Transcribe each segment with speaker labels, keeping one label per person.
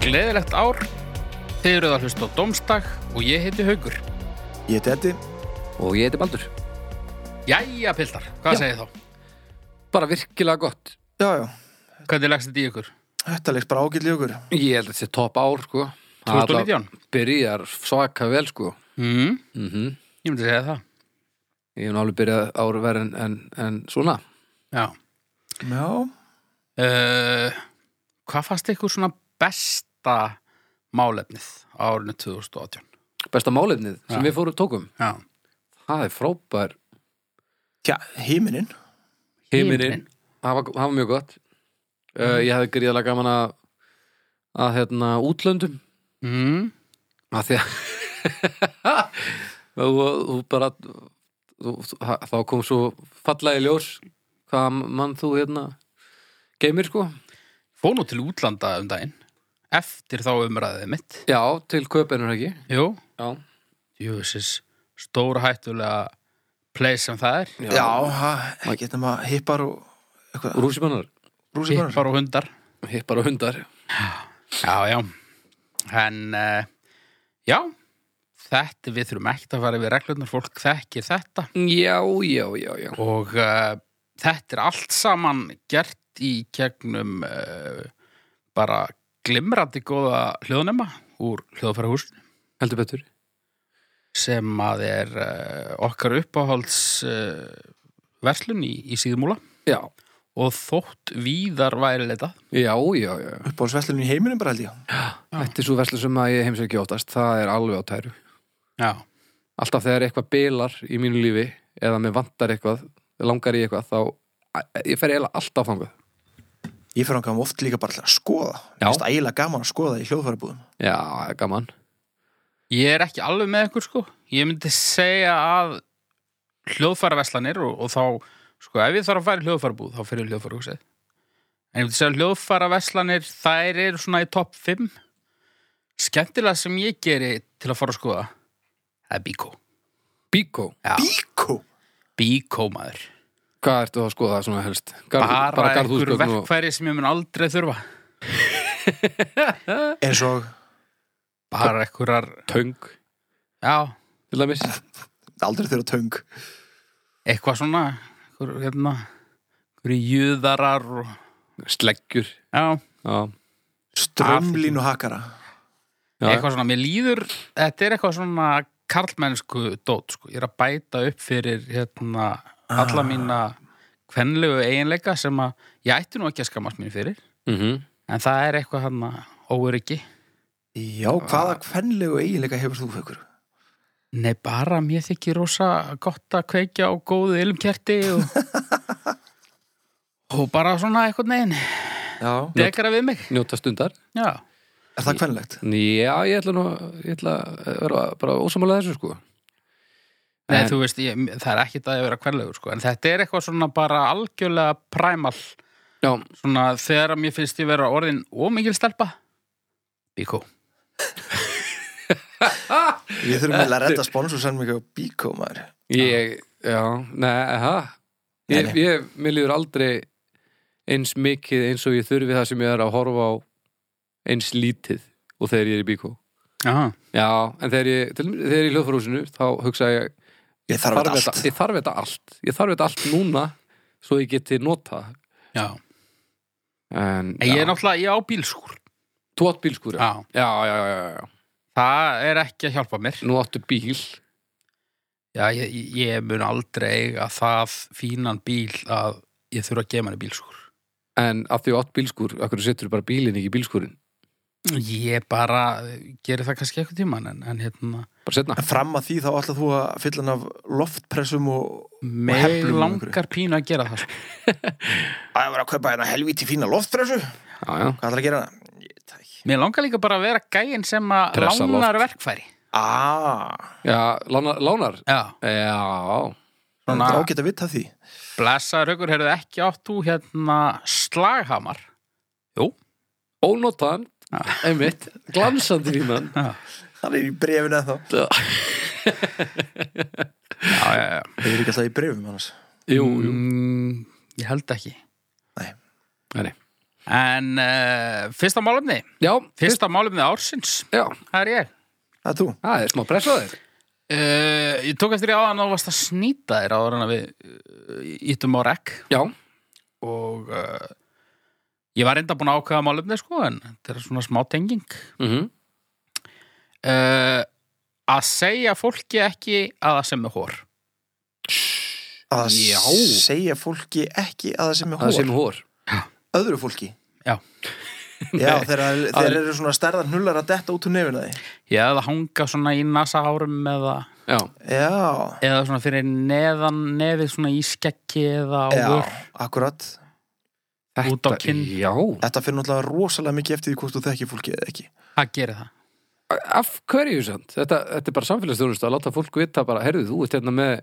Speaker 1: gleðilegt ár. Þið eruð að hlusta á Dómstag og ég heiti Haugur.
Speaker 2: Ég heiti Eddi
Speaker 3: Og ég heiti Baldur.
Speaker 1: Jæja, pildar, hvað
Speaker 3: Já.
Speaker 1: segið þá?
Speaker 3: Bara virkilega gott.
Speaker 2: Já, já,
Speaker 1: Hvernig leggst þetta í ykkur?
Speaker 2: þetta leikst bara ágætli ykkur
Speaker 3: Ég held að þetta sé topp ár, sko.
Speaker 1: 2019?
Speaker 3: Alla Byrjar svaka vel, sko.
Speaker 1: Mm,
Speaker 3: Mm
Speaker 1: ég myndi segja það.
Speaker 3: Ég hef nálega byrjað ára verð en, en, en svona.
Speaker 1: Já.
Speaker 2: Já,
Speaker 1: Uh, hvað fannst ykkur svona besta málefnið á árinu 2018?
Speaker 3: Besta málefnið sem
Speaker 1: Já.
Speaker 3: við fórum tókum.
Speaker 1: Já.
Speaker 3: Það er frábær
Speaker 2: tja, híminin
Speaker 3: heiminin. Það var, það var mjög gott. Uh, ég hefði gríðlega gaman að, að hérna, útlöndum.
Speaker 1: Mm,
Speaker 3: að því að þú, þú bara þú, þá kom svo fallagi ljós hvað mann þú hérna geimir sko
Speaker 1: fór nú til útlanda um daginn. Eftir þá umræðið mitt.
Speaker 3: já, til köpenur ekki
Speaker 1: Jú.
Speaker 3: já,
Speaker 1: Jú, þessi stóra hættulega place sem það er.
Speaker 2: Já, það er ekki nema hippar og eitthvað,
Speaker 3: rússimannar,
Speaker 2: brúsibarar
Speaker 1: Hippar og hundar.
Speaker 3: hippar og hundar
Speaker 1: Já, já. En, uh, já, þetta við þurfum ekkert að fara yfir reglunar, fólk þekkir þetta.
Speaker 3: já, já, já, já
Speaker 1: Og uh, þetta er allt saman gert í gegnum uh, bara glimrandi góða hljóðnema úr hljóðfærahúsinu
Speaker 3: heldur betur
Speaker 1: sem að er uh, okkar uppáhalds uh, verslun í, í síðmúla
Speaker 3: já,
Speaker 1: og þótt víðar væri leitað.
Speaker 3: já, já, já
Speaker 2: Upp á sveslunum í heiminum bara held ég
Speaker 3: þetta er svo verslu sem að ég heimsækja óttast það er alveg á tæru
Speaker 1: Já,
Speaker 3: alltaf þegar eitthvað bilar í mínu lífi eða mér vantar eitthvað, langar í eitthvað þá, ég fer eiginlega alltaf þangað
Speaker 2: Ég fer hann oft líka bara til að skoða
Speaker 3: Já.
Speaker 2: Mér finnst ægilega gaman að skoða í hljóðfærabúðum
Speaker 3: já, það er gaman
Speaker 1: Ég er ekki alveg með ykkur sko. Ég myndi segja að hljóðfæraverslanir og, og þá sko ef ég þarf að fara í hljóðfærabúð þá fyrir hljóðfærahúsið. En ég myndi segja að hljóðfæraverslanir þær eru svona í topp 5. Skemmtilega sem ég geri til að fara að skoða það er bíkó.
Speaker 3: Bíkó,
Speaker 1: Já,
Speaker 2: Bíkó
Speaker 1: bíkó maður.
Speaker 3: hvað ertu að skoða svona helst? Garð,
Speaker 1: Bara, bara ykkur
Speaker 3: garðhúsgögn og-
Speaker 1: verkfæri sem ég mun aldrei þurfa.
Speaker 2: Eins og
Speaker 1: Bara ykkurar,
Speaker 3: töng
Speaker 1: já,
Speaker 3: til dæmis
Speaker 2: aldrei þeirra töng
Speaker 1: eitthvað svona, ykkur, hérna, ykkur júðarar og,
Speaker 3: sleggjur
Speaker 1: já.
Speaker 3: já,
Speaker 2: Strömlínu hakara
Speaker 3: já,
Speaker 1: eitthvað svona, mér líður þetta er eitthvað svona karlmennsku dót, sko, ég er að bæta upp fyrir hérna,
Speaker 3: Ah.
Speaker 1: alla mína kvenlegu eiginleika sem að ég ætti nú ekki að skamast mín fyrir
Speaker 3: mm
Speaker 1: en það er eitthvað hann óöryggi
Speaker 2: Já, hvaða kvenlegu eiginleika hefur þú fyrir?
Speaker 1: Nei, bara mér þykir rosa gott að kveikja á góðu ilmkerti og, og bara svona eitthvað neginn
Speaker 2: Já
Speaker 1: dekara við mig
Speaker 3: njóta stundar
Speaker 1: Já,
Speaker 2: Er það kvenlegt?
Speaker 3: já, ég ætla nú ég ætla að vera bara ósamála þessu sko
Speaker 1: Nei,
Speaker 3: En-
Speaker 1: þú veist, ég, það er ekkit að ég vera kvenlegur sko, en þetta er eitthvað svona bara algjörlega præmal
Speaker 3: já,
Speaker 1: svona þegar að mér finnst ég vera orðin ómikil stelpa Bíkó
Speaker 2: Við þurfum eiginlega að redda sponsor sem mikið á Bíkó maður
Speaker 3: ég, já, neða ég,
Speaker 2: Nei, nei.
Speaker 3: ég, mér líður aldrei eins mikið eins og ég þurfi það sem ég er að horfa á eins lítið og þegar ég er í bíkó
Speaker 1: Já,
Speaker 3: já, en þegar ég, til, þegar ég er í hljóðfarúsinu þá hugsa ég
Speaker 2: Ég þarf
Speaker 3: þarf
Speaker 2: þetta allt
Speaker 3: þetta, ég þarf þetta allt ég þarf þetta allt núna svo ég geti nota
Speaker 1: já En
Speaker 3: en,
Speaker 1: ég er náttúrulega, ég á bílskúr
Speaker 3: þú átt bílskúr já.
Speaker 1: Já,
Speaker 3: Já, já, já, já, já,
Speaker 1: það er ekki að hjálpa mér
Speaker 3: nú áttu bíl
Speaker 1: Já, ég, ég mun aldrei eiga það fínan bíl að ég þurfa að gefa mér bílskúr
Speaker 3: en af því þú átt bílskúr, akkur setur bara bílinn ekki í bílskúrin
Speaker 1: Ég bara gerir það kannski eitthvað tíman en, en hérna,
Speaker 3: bara setna,
Speaker 2: En fram að því þá ætla þú að fylla hann af loftpressum og
Speaker 1: mig
Speaker 2: heflum og einhverju.
Speaker 1: langar pínu að gera það sko.
Speaker 2: að ég var að kaupa hérna helvíti fína loftpressu hvað
Speaker 3: já, já,
Speaker 2: ætlar að gera? Ég veit það ekki
Speaker 1: Mér langar líka bara að vera gæin sem að
Speaker 3: Pressa loft.
Speaker 1: lánar verkfæri
Speaker 2: aaa,
Speaker 3: já, lánar, lánar.
Speaker 1: Já,
Speaker 3: já,
Speaker 2: það
Speaker 1: svona
Speaker 2: er ágætt að vita því
Speaker 1: blessaður haukur, heyrðu ekki átt þú hérna slaghamar
Speaker 3: ónotan einmitt, glansandi vínan
Speaker 1: Já,
Speaker 2: það er í brefinu eða þá
Speaker 1: já, já, já.
Speaker 2: það er ekki alltaf í brefum annars
Speaker 3: jú, jú,
Speaker 1: Mm, ég held ekki.
Speaker 2: Nei.
Speaker 3: Nei, nei.
Speaker 1: En uh, fyrsta málumni,
Speaker 3: Já, fyrst,
Speaker 1: fyrsta málumni ársins,
Speaker 3: já,
Speaker 1: það er ég.
Speaker 2: Það er þú
Speaker 3: það er smá pressa á þér
Speaker 1: Uh, ég tók eftir í áðan og varst að snýta þér áður en að við uh, ítum á rekk
Speaker 3: Já,
Speaker 1: og uh, ég var enda búin að ákveða málumni sko en þetta er svona smá tenging.
Speaker 3: mm
Speaker 1: Uh, að segja fólki ekki að það sem er hór.
Speaker 2: að
Speaker 3: Já.
Speaker 2: segja fólki ekki að það sem er
Speaker 3: það
Speaker 2: hór
Speaker 3: sem hór
Speaker 2: öðru fólki
Speaker 1: Já.
Speaker 2: Já, þeir,
Speaker 3: Það
Speaker 2: þeir eru svona stærðar hnullar að detta út úr nefina því
Speaker 1: Ég hefði að hanga svona í nasahárum eða,
Speaker 3: Já,
Speaker 2: Já,
Speaker 1: eða svona fyrir neðan nefið svona í skeggi eða á
Speaker 2: já,
Speaker 1: vör.
Speaker 2: akkurat
Speaker 1: Út á
Speaker 3: Þetta-
Speaker 1: kinn.
Speaker 3: Já,
Speaker 2: Þetta fyrir náttúrulega rosalega mikið eftir því hvort þú þekki fólkið eða ekki
Speaker 1: Það gerir það.
Speaker 3: af hverju samt? Þetta, þetta er bara samfélagsþjónust að láta fólk vita bara, heyrðu, þú ert hérna með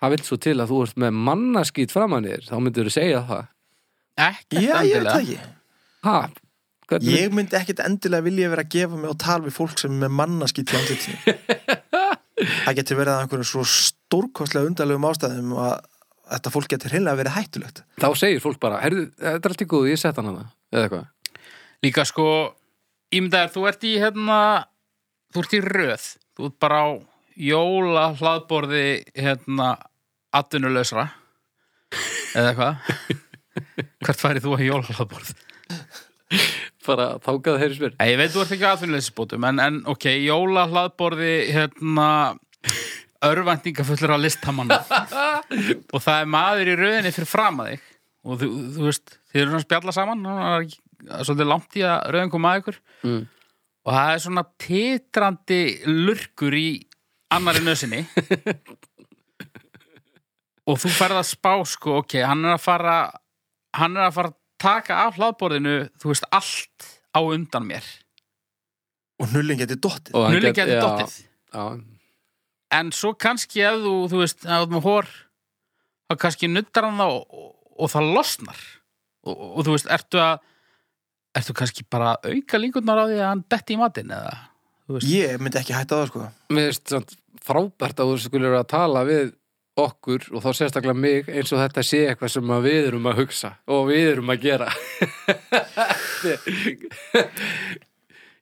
Speaker 3: það vil svo til að þú ert með mannaskýt framan þér, þá myndir þú segja það
Speaker 1: Ekki
Speaker 2: Já, ég veit það ekki
Speaker 3: Ha? Hvernig,
Speaker 2: Ég myndi ekkit endilega vilja vera að gefa mig á tal við fólk sem er með mannaskýtt í andlitinu Það getur verið að einhverjum svo stórkostlega undarlegum ástæðum að þetta fólk getur hreinlega verið hættulegt
Speaker 3: Þá segir fólk bara, heyrðu, þetta er allt í góðu, ég sett hann hana eða eitthvað.
Speaker 1: Líka sko, ímyndar, þú ert í hérna, þú ert í röð. Þú ert bara á jóla hlaðborði hérna atvinnulausra. Eða hvað? Hvert færið þú að jóla hlaðborð?
Speaker 3: Bara þákað heyrðis mér.
Speaker 1: Nei, ég veit þú ert ekki aðfinnulegisbótum, en, en ok, jóla hlaðborði, hérna, örvæntingafullur á listamanna. og það er maður í rauðinni fyrir fram að þig. Og þú, þú veist, þið eru svona að spjalla saman, og það er ekki- það er svolítið langt í að rauðin koma að ykkur.
Speaker 3: Mm.
Speaker 1: Og það er svona titrandi lurkur í annari nösinni. og þú færð að spá, sko, ok, hann er að fara, hann er að fara að taka af hlaðborðinu, þú veist, allt á undan mér.
Speaker 2: og hnullin getur dottið
Speaker 3: Og hann
Speaker 1: Nulli
Speaker 3: get-
Speaker 1: geti
Speaker 3: já,
Speaker 1: dottið
Speaker 3: Já,
Speaker 1: En svo kannski ef þú, þú veist, ef þú ert með hór þá kannski nuttar hann það og, og, og það losnar og, og, þú veist, ertu að ertu kannski bara að auka líkurnar á því að hann detti í matinn eða þú veist,
Speaker 2: Ég myndi ekki hætta það sko
Speaker 3: mér finnst samt frábært að þú skulur að tala við okkur og þá sérstaklega mig eins og þetta sé eitthvað sem að við erum að hugsa og við erum að gera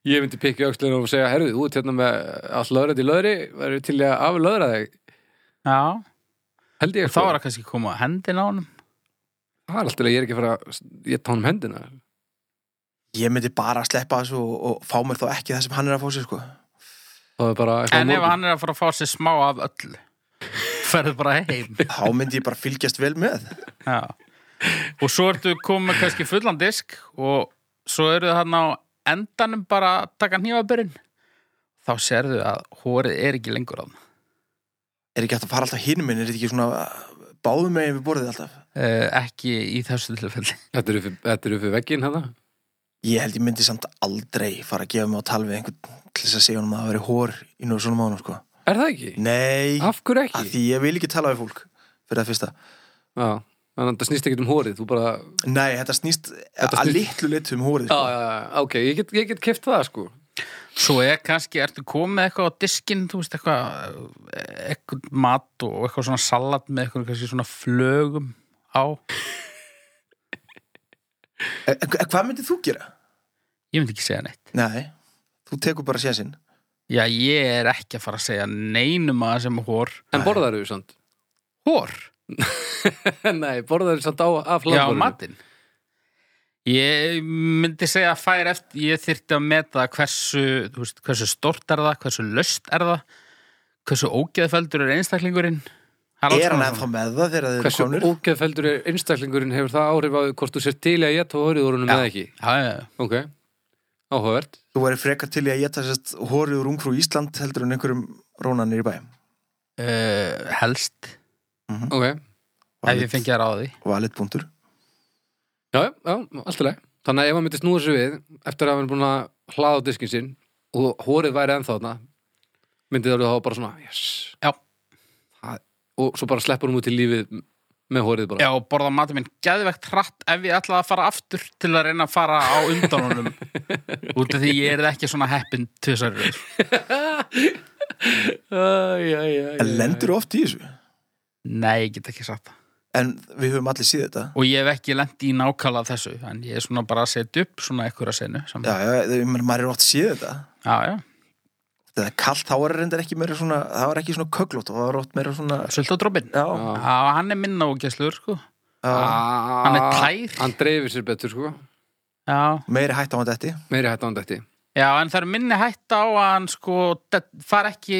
Speaker 3: ég myndi pikki öxlinu og segja herðu, þú ert hérna með allt löðrætt í löðri verður til í að aflöðra þig
Speaker 1: já,
Speaker 3: held ég sko.
Speaker 1: þá er það kannski koma að hendin á hann
Speaker 3: það er alltaf að ég er ekki að fara að ég tánum hendina
Speaker 2: Ég myndi bara að sleppa þessu og, og fá mér þá ekki það sem hann er að fá sér sko
Speaker 3: þá er bara eitthvað á
Speaker 1: en ef
Speaker 3: morgun.
Speaker 1: hann er að fara að fá sér smá af öllu ferðu bara heim
Speaker 2: Þá myndi ég bara fylgjast vel með
Speaker 1: já. og svo ertu komið með kannski fullan disk og svo eru það hann á endanum bara að taka hnífaburinn þá sérðu að hórið er ekki lengur á hann
Speaker 2: Er ekki hægt að fara alltaf hinum minn, er þetta ekki svona báðum megin við borðið alltaf
Speaker 1: uh, ekki í þessu tilfelli
Speaker 3: þetta eru fyrir, þetta eru fyrir veggin hana
Speaker 2: Ég held ég myndi samt aldrei fara að gefa mig á tal við einhvern til þess að segja honum að það veri hór í nú svona mánum sko.
Speaker 3: er það ekki?
Speaker 2: Nei, af
Speaker 3: af hverju ekki?
Speaker 2: því ég vil ekki tala við fólk fyrir það fyrsta.
Speaker 3: Já, þannig að það snýst ekkert um hórið þú bara
Speaker 2: Nei, þetta snýst
Speaker 3: Þetta
Speaker 2: að
Speaker 3: snýst-
Speaker 2: litlu litum um hórið.
Speaker 3: Já,
Speaker 2: Sko.
Speaker 3: já, já, ok, ég get, ég get keft það sko
Speaker 1: svo er kannski, ertu komið með eitthvað á diskinn þú veist eitthvað eh, eitthvað mat og eitthvað svona salat með eitthvað kannski svona flögum á
Speaker 2: En, en hvað myndir þú gera?
Speaker 1: ég myndi ekki segja neitt
Speaker 2: Nei, þú tekur bara séðsinn.
Speaker 1: já, ég er ekki að fara að segja neinum að sem hór
Speaker 3: En borðar þau samt?
Speaker 1: hór?
Speaker 3: Nei, borðar þau samt á
Speaker 1: Já,
Speaker 3: af hlaðborðinu
Speaker 1: matinn Ég myndi segja að færa eftir ég þyrfti að meta hversu þú veist, hversu stort er það, hversu löst er það hversu ógeðfeldur er einstaklingurinn Það alls
Speaker 2: Er hann
Speaker 1: konar
Speaker 2: ennþá
Speaker 1: svona.
Speaker 2: með það þegar þeir eru
Speaker 3: Hversu
Speaker 2: konur?
Speaker 3: ógeðfeldur er einstaklingurinn hefur það áhrif á því hvort þú sér til í að geta hórið úr honum
Speaker 1: Já.
Speaker 3: eða ekki
Speaker 1: Já, já, já.
Speaker 3: Ok, áhugavert
Speaker 2: Þú verður frekar til í að geta sérst hórið úr ungfrú Ísland heldur en einhverjum rónanir í bæ.
Speaker 1: Uh, helst,
Speaker 3: Ok,
Speaker 1: ef ég fengi að ráða því
Speaker 2: Valit punktur.
Speaker 3: já, já, já, allt í leið Þannig að ef maður myndi snúa sér við eftir að hafa búin að hlaða á diskin sinn og hórið væri ennþá þarna myndi það þá bara svona, yes
Speaker 1: Já.
Speaker 3: það, Og svo bara sleppur hún út í lífið með hórið bara
Speaker 1: Já, og borða matur minn geðvegt hratt ef ég ætlaði að fara aftur til að reyna að fara á undan honum út af því ég er ekki svona heppin tvisar röð
Speaker 3: Æ, æ, æ, æ, æ.
Speaker 1: Eh.
Speaker 2: En lendur oft í þessu?
Speaker 1: Nei, ég get ekki sagt það
Speaker 2: en við höfum allir síð þetta
Speaker 1: og ég hef ekki lent í nákala þessu en ég er svona bara að setja upp svona ekkur að senu
Speaker 2: já, já, ég meina, maður er oft síð þetta
Speaker 1: já, já,
Speaker 2: þegar það er kallt, þá er reyndar ekki meira svona það var ekki svona köglótt, það var oft meira svona
Speaker 1: sultadrópin
Speaker 2: já,
Speaker 3: Já.
Speaker 2: já,
Speaker 1: já, hann er minna ógæsluður sko
Speaker 2: já
Speaker 1: Ah, hann
Speaker 3: Hann
Speaker 1: er tær.
Speaker 3: Hann dreifir sér betur sko
Speaker 1: já,
Speaker 2: meiri hætt á hann þetta
Speaker 3: Meiri hætt á hann dætti
Speaker 1: já en það er minni hætt á að hann sko det- fara ekki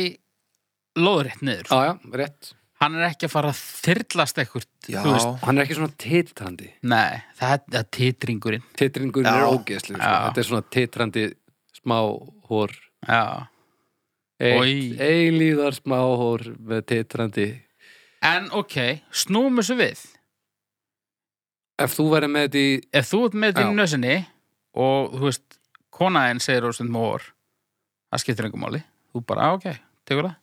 Speaker 1: lóðrétt niður sko.
Speaker 3: Já, já, rétt
Speaker 1: hann er ekki að fara að þyrlast ekkert
Speaker 2: já,
Speaker 1: þú veist.
Speaker 3: Hann er ekki svona titrandi
Speaker 1: nei, það það er titringurinn
Speaker 3: Titringur
Speaker 2: Já.
Speaker 3: er ógeðslu sko.
Speaker 1: Já.
Speaker 3: Þetta er svona titrandi smá hór
Speaker 1: já Oj.
Speaker 3: Eilíðar smá hór með titrandi
Speaker 1: En ok, snúum þessu við
Speaker 3: Ef þú verður með þetta í
Speaker 1: Ef þú ert með þetta í
Speaker 3: Já.
Speaker 1: nösinni og þú veist, konaðin segir og stundum mór, það skiptir engum máli þú bara, "Ah, ok, tegur það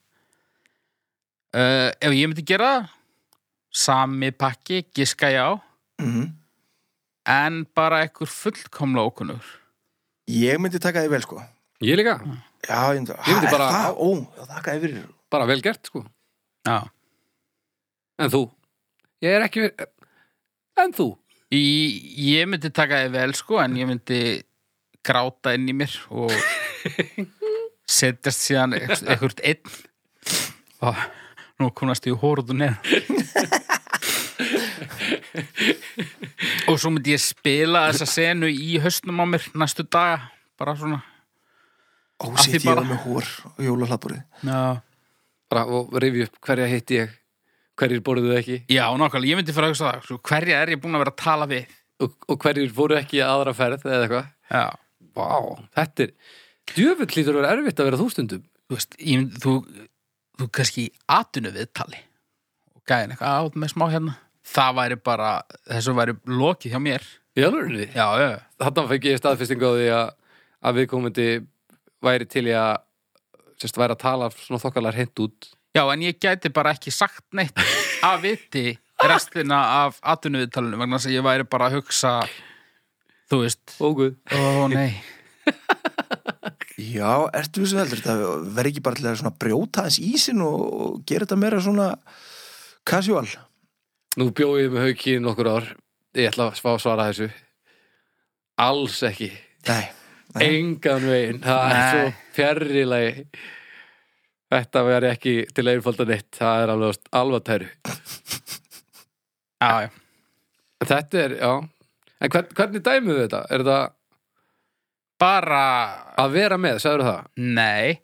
Speaker 1: uh, Ef ég myndi gera það sami pakki, giska já
Speaker 2: mhm
Speaker 1: en bara ekkur fullkomla ókunnur
Speaker 2: Ég myndi taka því vel sko
Speaker 3: Ég líka,
Speaker 2: Já, ég myndi,
Speaker 3: Ég myndi
Speaker 2: Ha, er
Speaker 3: bara-
Speaker 2: það, Ó, já, þakka yfir
Speaker 3: bara vel gert sko
Speaker 1: Já
Speaker 3: En þú Ég er ekki En þú
Speaker 1: Í, ég myndi taka þið vel sko en ég myndi gráta inn í mér og setjast síðan ekkert einn og nú komast ég hóruðu neð og svo myndi ég spila þessa senu í höstnum á mér næstu daga bara svona
Speaker 2: Ó,
Speaker 1: Að
Speaker 2: sitt
Speaker 1: því
Speaker 2: ég
Speaker 1: bara-
Speaker 2: var með hór og jólahlappurði
Speaker 1: já,
Speaker 3: Bara og rifi upp hverja hitt ég Hverjir borðuðu ekki
Speaker 1: já nákvæmlega, ég myndi fyrir að hugsa það sko, hverja er ég búin að vera að tala við
Speaker 3: og, og hverjir voru ekki í aðra ferð eða eitthvað
Speaker 1: já,
Speaker 3: Vá, þetta er Djöfull lítur að vera erfitt að vera þú stundum
Speaker 1: þú veist ég, myndi- þú, þú kannski atinu viðtali og gæðin eitthvað átt með smá hérna það væri bara, þessu væri lokið hjá mér
Speaker 3: Í alvörunni
Speaker 1: já, já,
Speaker 3: Þarna fæk ég staðfestingu á því að, að viðkomandi væri til í að sérst væri að tala svona þokkalar hent út
Speaker 1: já, en ég gæti bara ekki sagt neitt að viti restina af atinu viðtalinu vegna þess að ég væri bara að hugsa þú veist,
Speaker 3: Óguð
Speaker 1: ó nei
Speaker 2: Já, ertu þessu heldur þetta verð ekki bara til að svona brjóta hans ísin og og gera þetta meira svona casual
Speaker 3: Nú bjóð ég með hauki í nokkur ár Ég ætla að svá svara þessu Alls ekki
Speaker 2: Nei, nei.
Speaker 3: Engan veginn Það er
Speaker 1: Nei.
Speaker 3: svo fjarrilegi Þetta veri ekki til að einfalda neitt Það er alveg alveg tæru
Speaker 1: já, já,
Speaker 3: Þetta er, já En hvern, hvernig dæmið þetta? Er þetta
Speaker 1: bara
Speaker 3: að vera með, sagður það?
Speaker 1: nei,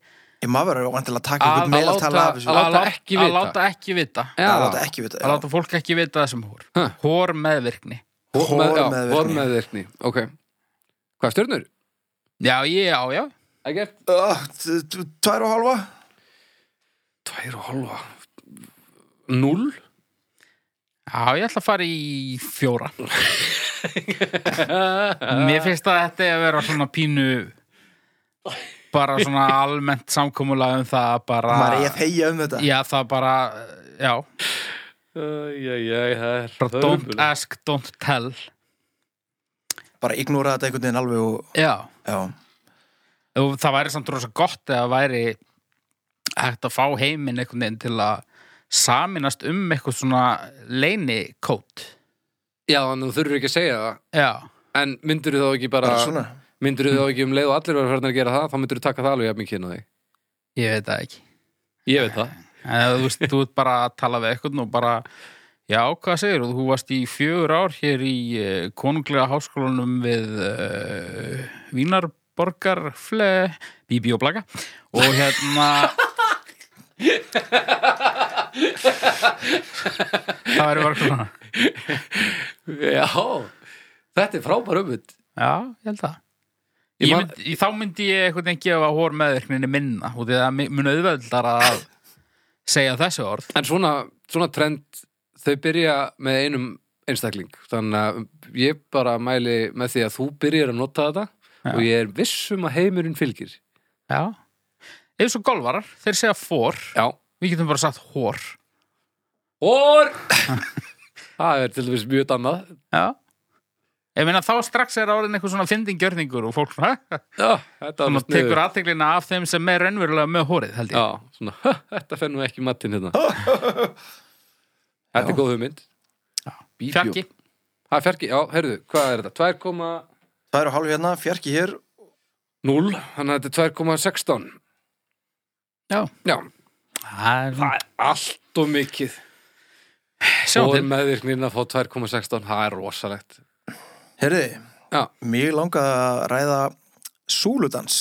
Speaker 2: Ég maður verður vantilega að taka
Speaker 1: Að-
Speaker 2: einhvern meðal tala af
Speaker 3: Að
Speaker 2: þessu
Speaker 3: láta
Speaker 1: lát-
Speaker 3: ekki
Speaker 1: að
Speaker 3: vita.
Speaker 1: láta ekki vita
Speaker 2: að láta ekki við
Speaker 1: að
Speaker 2: þetta
Speaker 1: láta fólk ekki vita þessum hór
Speaker 3: Ha.
Speaker 1: hór meðvirkni
Speaker 2: Hórmeðvirkni.
Speaker 3: Hórmeðvirkni, ok Hvað stjörnur?
Speaker 1: já, ég, já, já,
Speaker 3: Ekkert
Speaker 2: Ah, t- t- Tvær og halva
Speaker 3: Tvær og halva Null?
Speaker 1: já, ég ætla að fara í fjóra
Speaker 3: Mér
Speaker 1: Mér finnst að þetta er að vera svona pínu bara svona almennt samkomulag um það að bara
Speaker 2: Maður er ég að þegja um þetta
Speaker 1: Já, það bara, já
Speaker 3: Æjæjæj, það er
Speaker 1: bara don't ask, don't tell
Speaker 2: Bara ignora þetta einhvern veginn alveg og
Speaker 1: Já,
Speaker 2: Já,
Speaker 1: og það væri samt rosa gott eða væri hægt að fá heiminn einhvern veginn til að saminast um eitthvað svona leynikót
Speaker 3: Já, en þú þurfur ekki að segja það
Speaker 1: Já,
Speaker 3: En myndur þú þá ekki bara
Speaker 2: bara svona
Speaker 3: Myndur þú þá ekki um leið og allir verður farin að gera það Þá myndur þú taka það alveg jafn mikið inn á þig
Speaker 1: ég veit það ekki
Speaker 3: Ég veit það
Speaker 1: En þú veist, þú ert bara að tala við eitthvað og bara, já, hvað segir þú? Þú varst í fjögur ár hér í eh, konunglega háskólanum við uh, Vínarborgarfle, Bíbí og Blaka og hérna Það verður bara svona
Speaker 3: Já, þetta er frábær umut
Speaker 1: Já, ég held það
Speaker 3: Ég
Speaker 1: Ég
Speaker 3: man-
Speaker 1: mynd, þá myndi ég einhvern veginn gefa hór meðverkninni minna og því að það mun auðveldar að segja þessu orð
Speaker 3: En svona, svona trend Þau byrja með einum einstakling Þannig að ég bara mæli með því að þú byrjar að nota þetta
Speaker 1: Já.
Speaker 3: Og ég er viss um að heimurinn fylgir
Speaker 1: Já Eða svo golvarar, þeir segja fór
Speaker 3: Já
Speaker 1: Við getum bara sagt hór
Speaker 3: Or Það er til dæmis mjög annað
Speaker 1: Já Ég meina þá strax er orðin eitthvað svona fyndingjörningur og fólk svona, "Hæ?"
Speaker 3: Já, þetta
Speaker 1: svona
Speaker 3: var sniðugt.
Speaker 1: tekur aðteklina af þeim sem er raunverulega með hórið held ég
Speaker 3: Já, svona, þetta fennum ekki matinn hérna Þetta er góð hugmynd Bíbjú.
Speaker 1: fjarki
Speaker 3: Ha, fjarki, já, heyrðu, hvað er þetta? 2,0
Speaker 2: Það eru hálf hérna, fjarki hér
Speaker 3: Þannig að þetta er 2,16
Speaker 1: Já.
Speaker 3: Já,
Speaker 1: Það er-
Speaker 3: það er allt og mikið
Speaker 1: Sjá
Speaker 3: Og
Speaker 1: til
Speaker 3: meðvirknin að fá 2,16 Það er rosalegt
Speaker 2: Herriði,
Speaker 3: Já.
Speaker 2: mig langaði að ræða súludans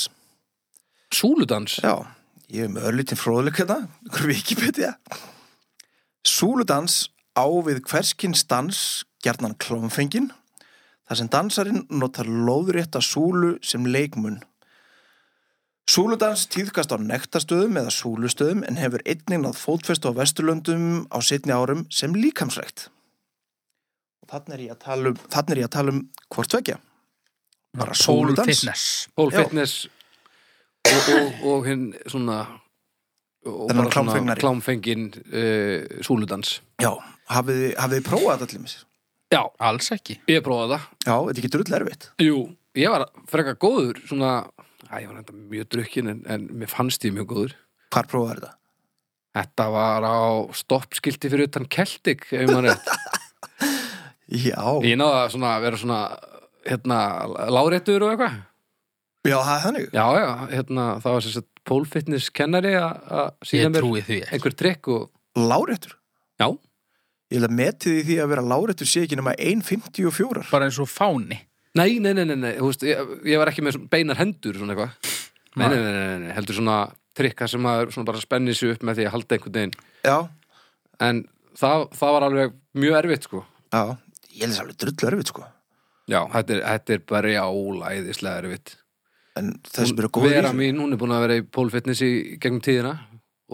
Speaker 3: Súludans
Speaker 2: Já, ég er með örlítinn fróðleik hérna, ykkur Wikipedia Súludans á við hverskins dans gerðnan klómfengin þar sem dansarinn notar lóðrétta súlu sem leikmun Súludans týðkast á nektastöðum eða súlustöðum en hefur einnig náð fótfestu á vesturlöndum á setni árum sem líkamsrækt og þannig er ég að tala um, þarna er ég að tala um hvort tvekja bara
Speaker 1: Pole
Speaker 2: súludans
Speaker 1: Fitness
Speaker 3: Pól
Speaker 2: Já.
Speaker 3: fitness og, og, og hinn svona og
Speaker 2: Þennan
Speaker 3: bara svona
Speaker 2: klámfengnari.
Speaker 3: klámfenginn, eh, súludans
Speaker 2: Já, hafið þið- hafið þið prófað þetta allir mér?
Speaker 3: Já,
Speaker 1: Alls ekki
Speaker 3: ég prófaði það
Speaker 2: Já, þetta er ekki drull erfitt.
Speaker 3: Jú, ég var frekar góður svona, að ég var enda mjög drukkin en, en mér fannst ég mjög góður
Speaker 2: Hvar prófaði þetta?
Speaker 3: Þetta var á stoppskilti fyrir utan Celtic ef maður rétt.
Speaker 2: Já,
Speaker 3: Ég náði að svona, vera svona hérna, láréttur og eitthvað
Speaker 2: já, það er þannig.
Speaker 3: Já, já, hérna, það var sem sagt pólfitness kennari að síða
Speaker 1: Ég
Speaker 3: mér
Speaker 1: trúi því ekki
Speaker 3: einhver trikk og
Speaker 2: Láréttur.
Speaker 3: Já.
Speaker 2: Ég held að metið í því að vera láréttur sé ekki nema 1.54.
Speaker 1: Bara eins og fáni
Speaker 3: Nei, nei, nei, nei, nei. Þú Veist, ég, ég var ekki með svona beinar hendur svona eitthvað nei, nei,
Speaker 1: Nei.
Speaker 3: nei, nei, nei, nei, heldur svona trikka sem maður svona bara spennir sig upp með því að halda einhvern veginn
Speaker 2: Já,
Speaker 3: en það, það var alveg mjög erfitt sko
Speaker 2: já. Ég held þess alveg drull erfitt, sko.
Speaker 3: Já, þetta er, þetta er bara jálæðislega erfitt
Speaker 2: En þess
Speaker 3: Hún-
Speaker 2: að vera góður í
Speaker 3: Vera
Speaker 2: þessu.
Speaker 3: mín, hún er búin að vera í pólfitness í gegnum tíðina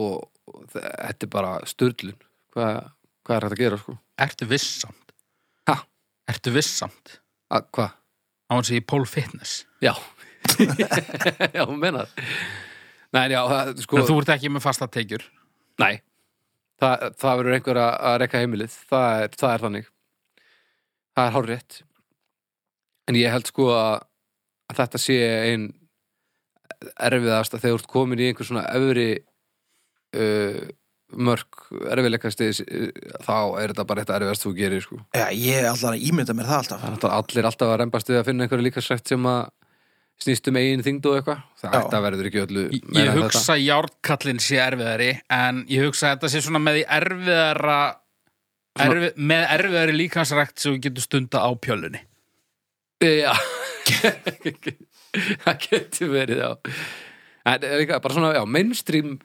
Speaker 3: og, og þe- þetta er bara störlun hvað, hvað er hægt að gera sko
Speaker 1: Ertu viss samt?
Speaker 3: Ha?
Speaker 1: Ertu viss samt?
Speaker 3: A, Hvað?
Speaker 1: Á hans í Pole Fitness
Speaker 3: Já Já, hún menar Nei, já, það, sko
Speaker 1: En þú ert ekki með fasta tekjur
Speaker 3: Nei, Þa, það verður einhver að, að rekka heimilið það er, það er þannig Það er hárrétt En ég held sko að, að þetta sé ein erfiðast að þegar þú ert komin í einhver svona öfri uh, mörk erfiðleikastis þá er þetta bara þetta erfiðast þú gerir sko.
Speaker 2: Já, ég er alltaf að ímynda mér það alltaf.
Speaker 3: Það er náttúrulega allir alltaf að rembast við að finna einhverja líka sætt sem að snýst um eigin þyngd og eitthvað það
Speaker 2: Já.
Speaker 3: þetta verður ekki öllu
Speaker 1: Ég,
Speaker 3: meira
Speaker 1: ég
Speaker 3: en þetta.
Speaker 1: hugsa að járkallin sé erfiðari En ég hugsa að þetta sé svona með því erfiðara
Speaker 3: Svona-
Speaker 1: erfi, Með erfiðari líkansrækt sem við getum stunda á pjölunni
Speaker 3: Já Það getur verið, já En líka, bara svona, já, mainstream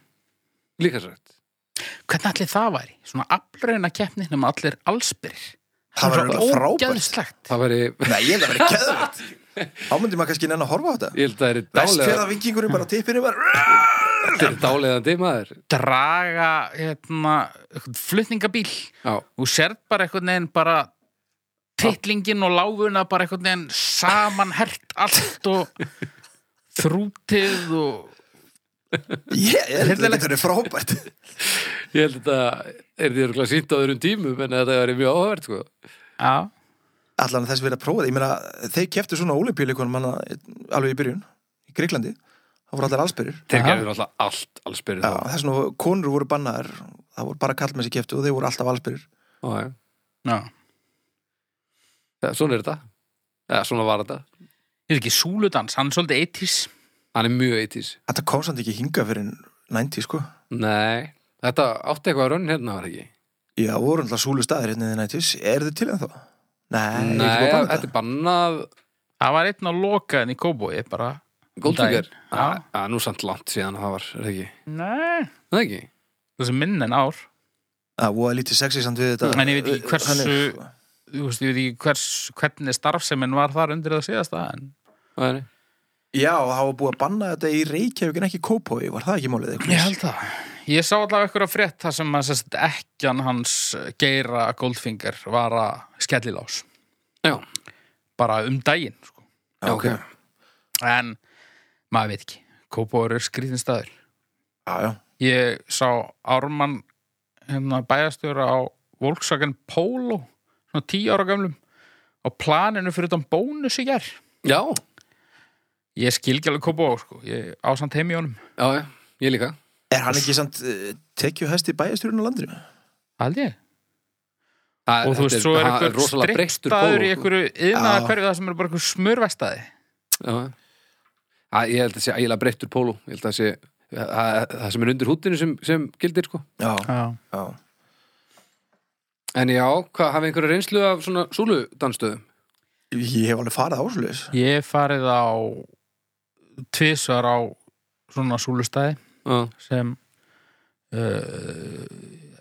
Speaker 3: líka sætt
Speaker 1: Hvernig allir það væri? Svona aflreina keppni nema allir allsbyrir
Speaker 2: Það var alveg frábært.
Speaker 1: Ógæðslegt
Speaker 3: Það væri,
Speaker 2: Nei, ég held að vera geðvægt. Þá myndi maður kannski nenn að horfa á þetta.
Speaker 3: ég held að það er
Speaker 2: Vest fyrir
Speaker 3: dálega
Speaker 2: að vikingurinn bara tippinu bara...
Speaker 3: Þetta er dálega maður
Speaker 1: Draga hérna, einhvern flutningabíl
Speaker 3: Já,
Speaker 1: Þú sérð bara einhvern veginn bara titlingin og láfuna bara einhvern veginn samanhert allt og þrútið og
Speaker 2: Ég ég held að
Speaker 1: Hryllilegt.
Speaker 2: þetta er frábært.
Speaker 3: ég held að þetta er því örgulega sínt á öðrum tímum en þetta væri mjög áhverð, sko
Speaker 1: já,
Speaker 2: allan þess að vera að prófa það ég meina, þeir keftu svona ólipíleikunum manna, alveg í byrjun, í Greiklandi þá voru allir allsbyrjur
Speaker 3: Þeir
Speaker 1: Já.
Speaker 3: gerður alltaf allt, alls byrjuð
Speaker 2: Já, þess vegna voru- konur voru bannaðar það voru bara kallmenn sem keftu og þeir voru alltaf allsbyrjur
Speaker 3: þá
Speaker 1: já.
Speaker 3: Já, Svona er þetta Já, svona var þetta
Speaker 1: Þetta er ekki súludans, hann er svolítið 80s
Speaker 3: Hann er mjög 80s
Speaker 2: þetta kom samt ekki hinga fyrir 90 sko
Speaker 3: Nei, þetta átti eitthvað að raun hérna var það ekki
Speaker 2: já, voru alltaf súlu staðir hérna í 90 er þið til en þá? Nei,
Speaker 3: Nei,
Speaker 2: ekki búið að banna
Speaker 3: þetta er bannað
Speaker 1: Það var einn á lokaðin í Kóboi bara,
Speaker 3: Goldfinger
Speaker 1: Daginn. Já.
Speaker 3: Já, já, nú samt langt síðan að það var, er það ekki?
Speaker 1: nei
Speaker 3: Er Það ekki?
Speaker 1: Það sem minn en ár
Speaker 2: það voru lítið sexy samt við þetta
Speaker 1: En ég veit ekki hversu-
Speaker 2: Þannig, sko.
Speaker 1: Þú veist, ég veit ekki hvers, hvernig starfseminn var þar undir það síðasta en
Speaker 3: Það er-
Speaker 2: já, það var búið að banna þetta í Reykjavík en ekki Kópói, var það ekki málið eitthvað?
Speaker 1: Ég held það. Ég sá allavega ykkur að frétt þar sem að sérst, ekkjan hans geira Goldfinger var að skellilás.
Speaker 3: Já.
Speaker 1: Bara um daginn, sko.
Speaker 2: Já, ok.
Speaker 3: Já,
Speaker 1: En maður veit ekki. Kópóður er skrýðin staður.
Speaker 2: já, já.
Speaker 1: Ég sá Ármann hérna, bæjastjóra á Volkswagen Polo, svona tíu ára gamlum, á planinu fyrir utan bónus í gær.
Speaker 3: já,
Speaker 1: Ég skil ekki alveg Kópóður, sko. Ég ásand heim í honum.
Speaker 3: já, já, ég líka
Speaker 2: eh, er hann ekki samt tekju hæsti bæjastjórun á landinu?
Speaker 1: Hald ég.
Speaker 3: Það-
Speaker 1: og þú
Speaker 3: þetta
Speaker 1: veist, svo er
Speaker 3: það
Speaker 1: einhver
Speaker 3: rosalega breyttur
Speaker 1: strikkstaður í
Speaker 3: Volvo, sko.
Speaker 1: einhverju yðnaða
Speaker 2: Já.
Speaker 1: hverju það sem er bara einhver smurvestaði
Speaker 3: Já. Að, ég held að sé ægilega breyttur póló ég held að sé að, að, það sem er undir húttinu sem, sem gildir sko
Speaker 2: já,
Speaker 1: Já.
Speaker 2: já.
Speaker 3: en já, hvað, hafið einhverja reynslu af svona súludanstöðum?
Speaker 2: Ég hef alveg farið ásleis.
Speaker 1: Ég hef farið á tvisar á svona súlustæði
Speaker 3: Já,
Speaker 1: sem uh,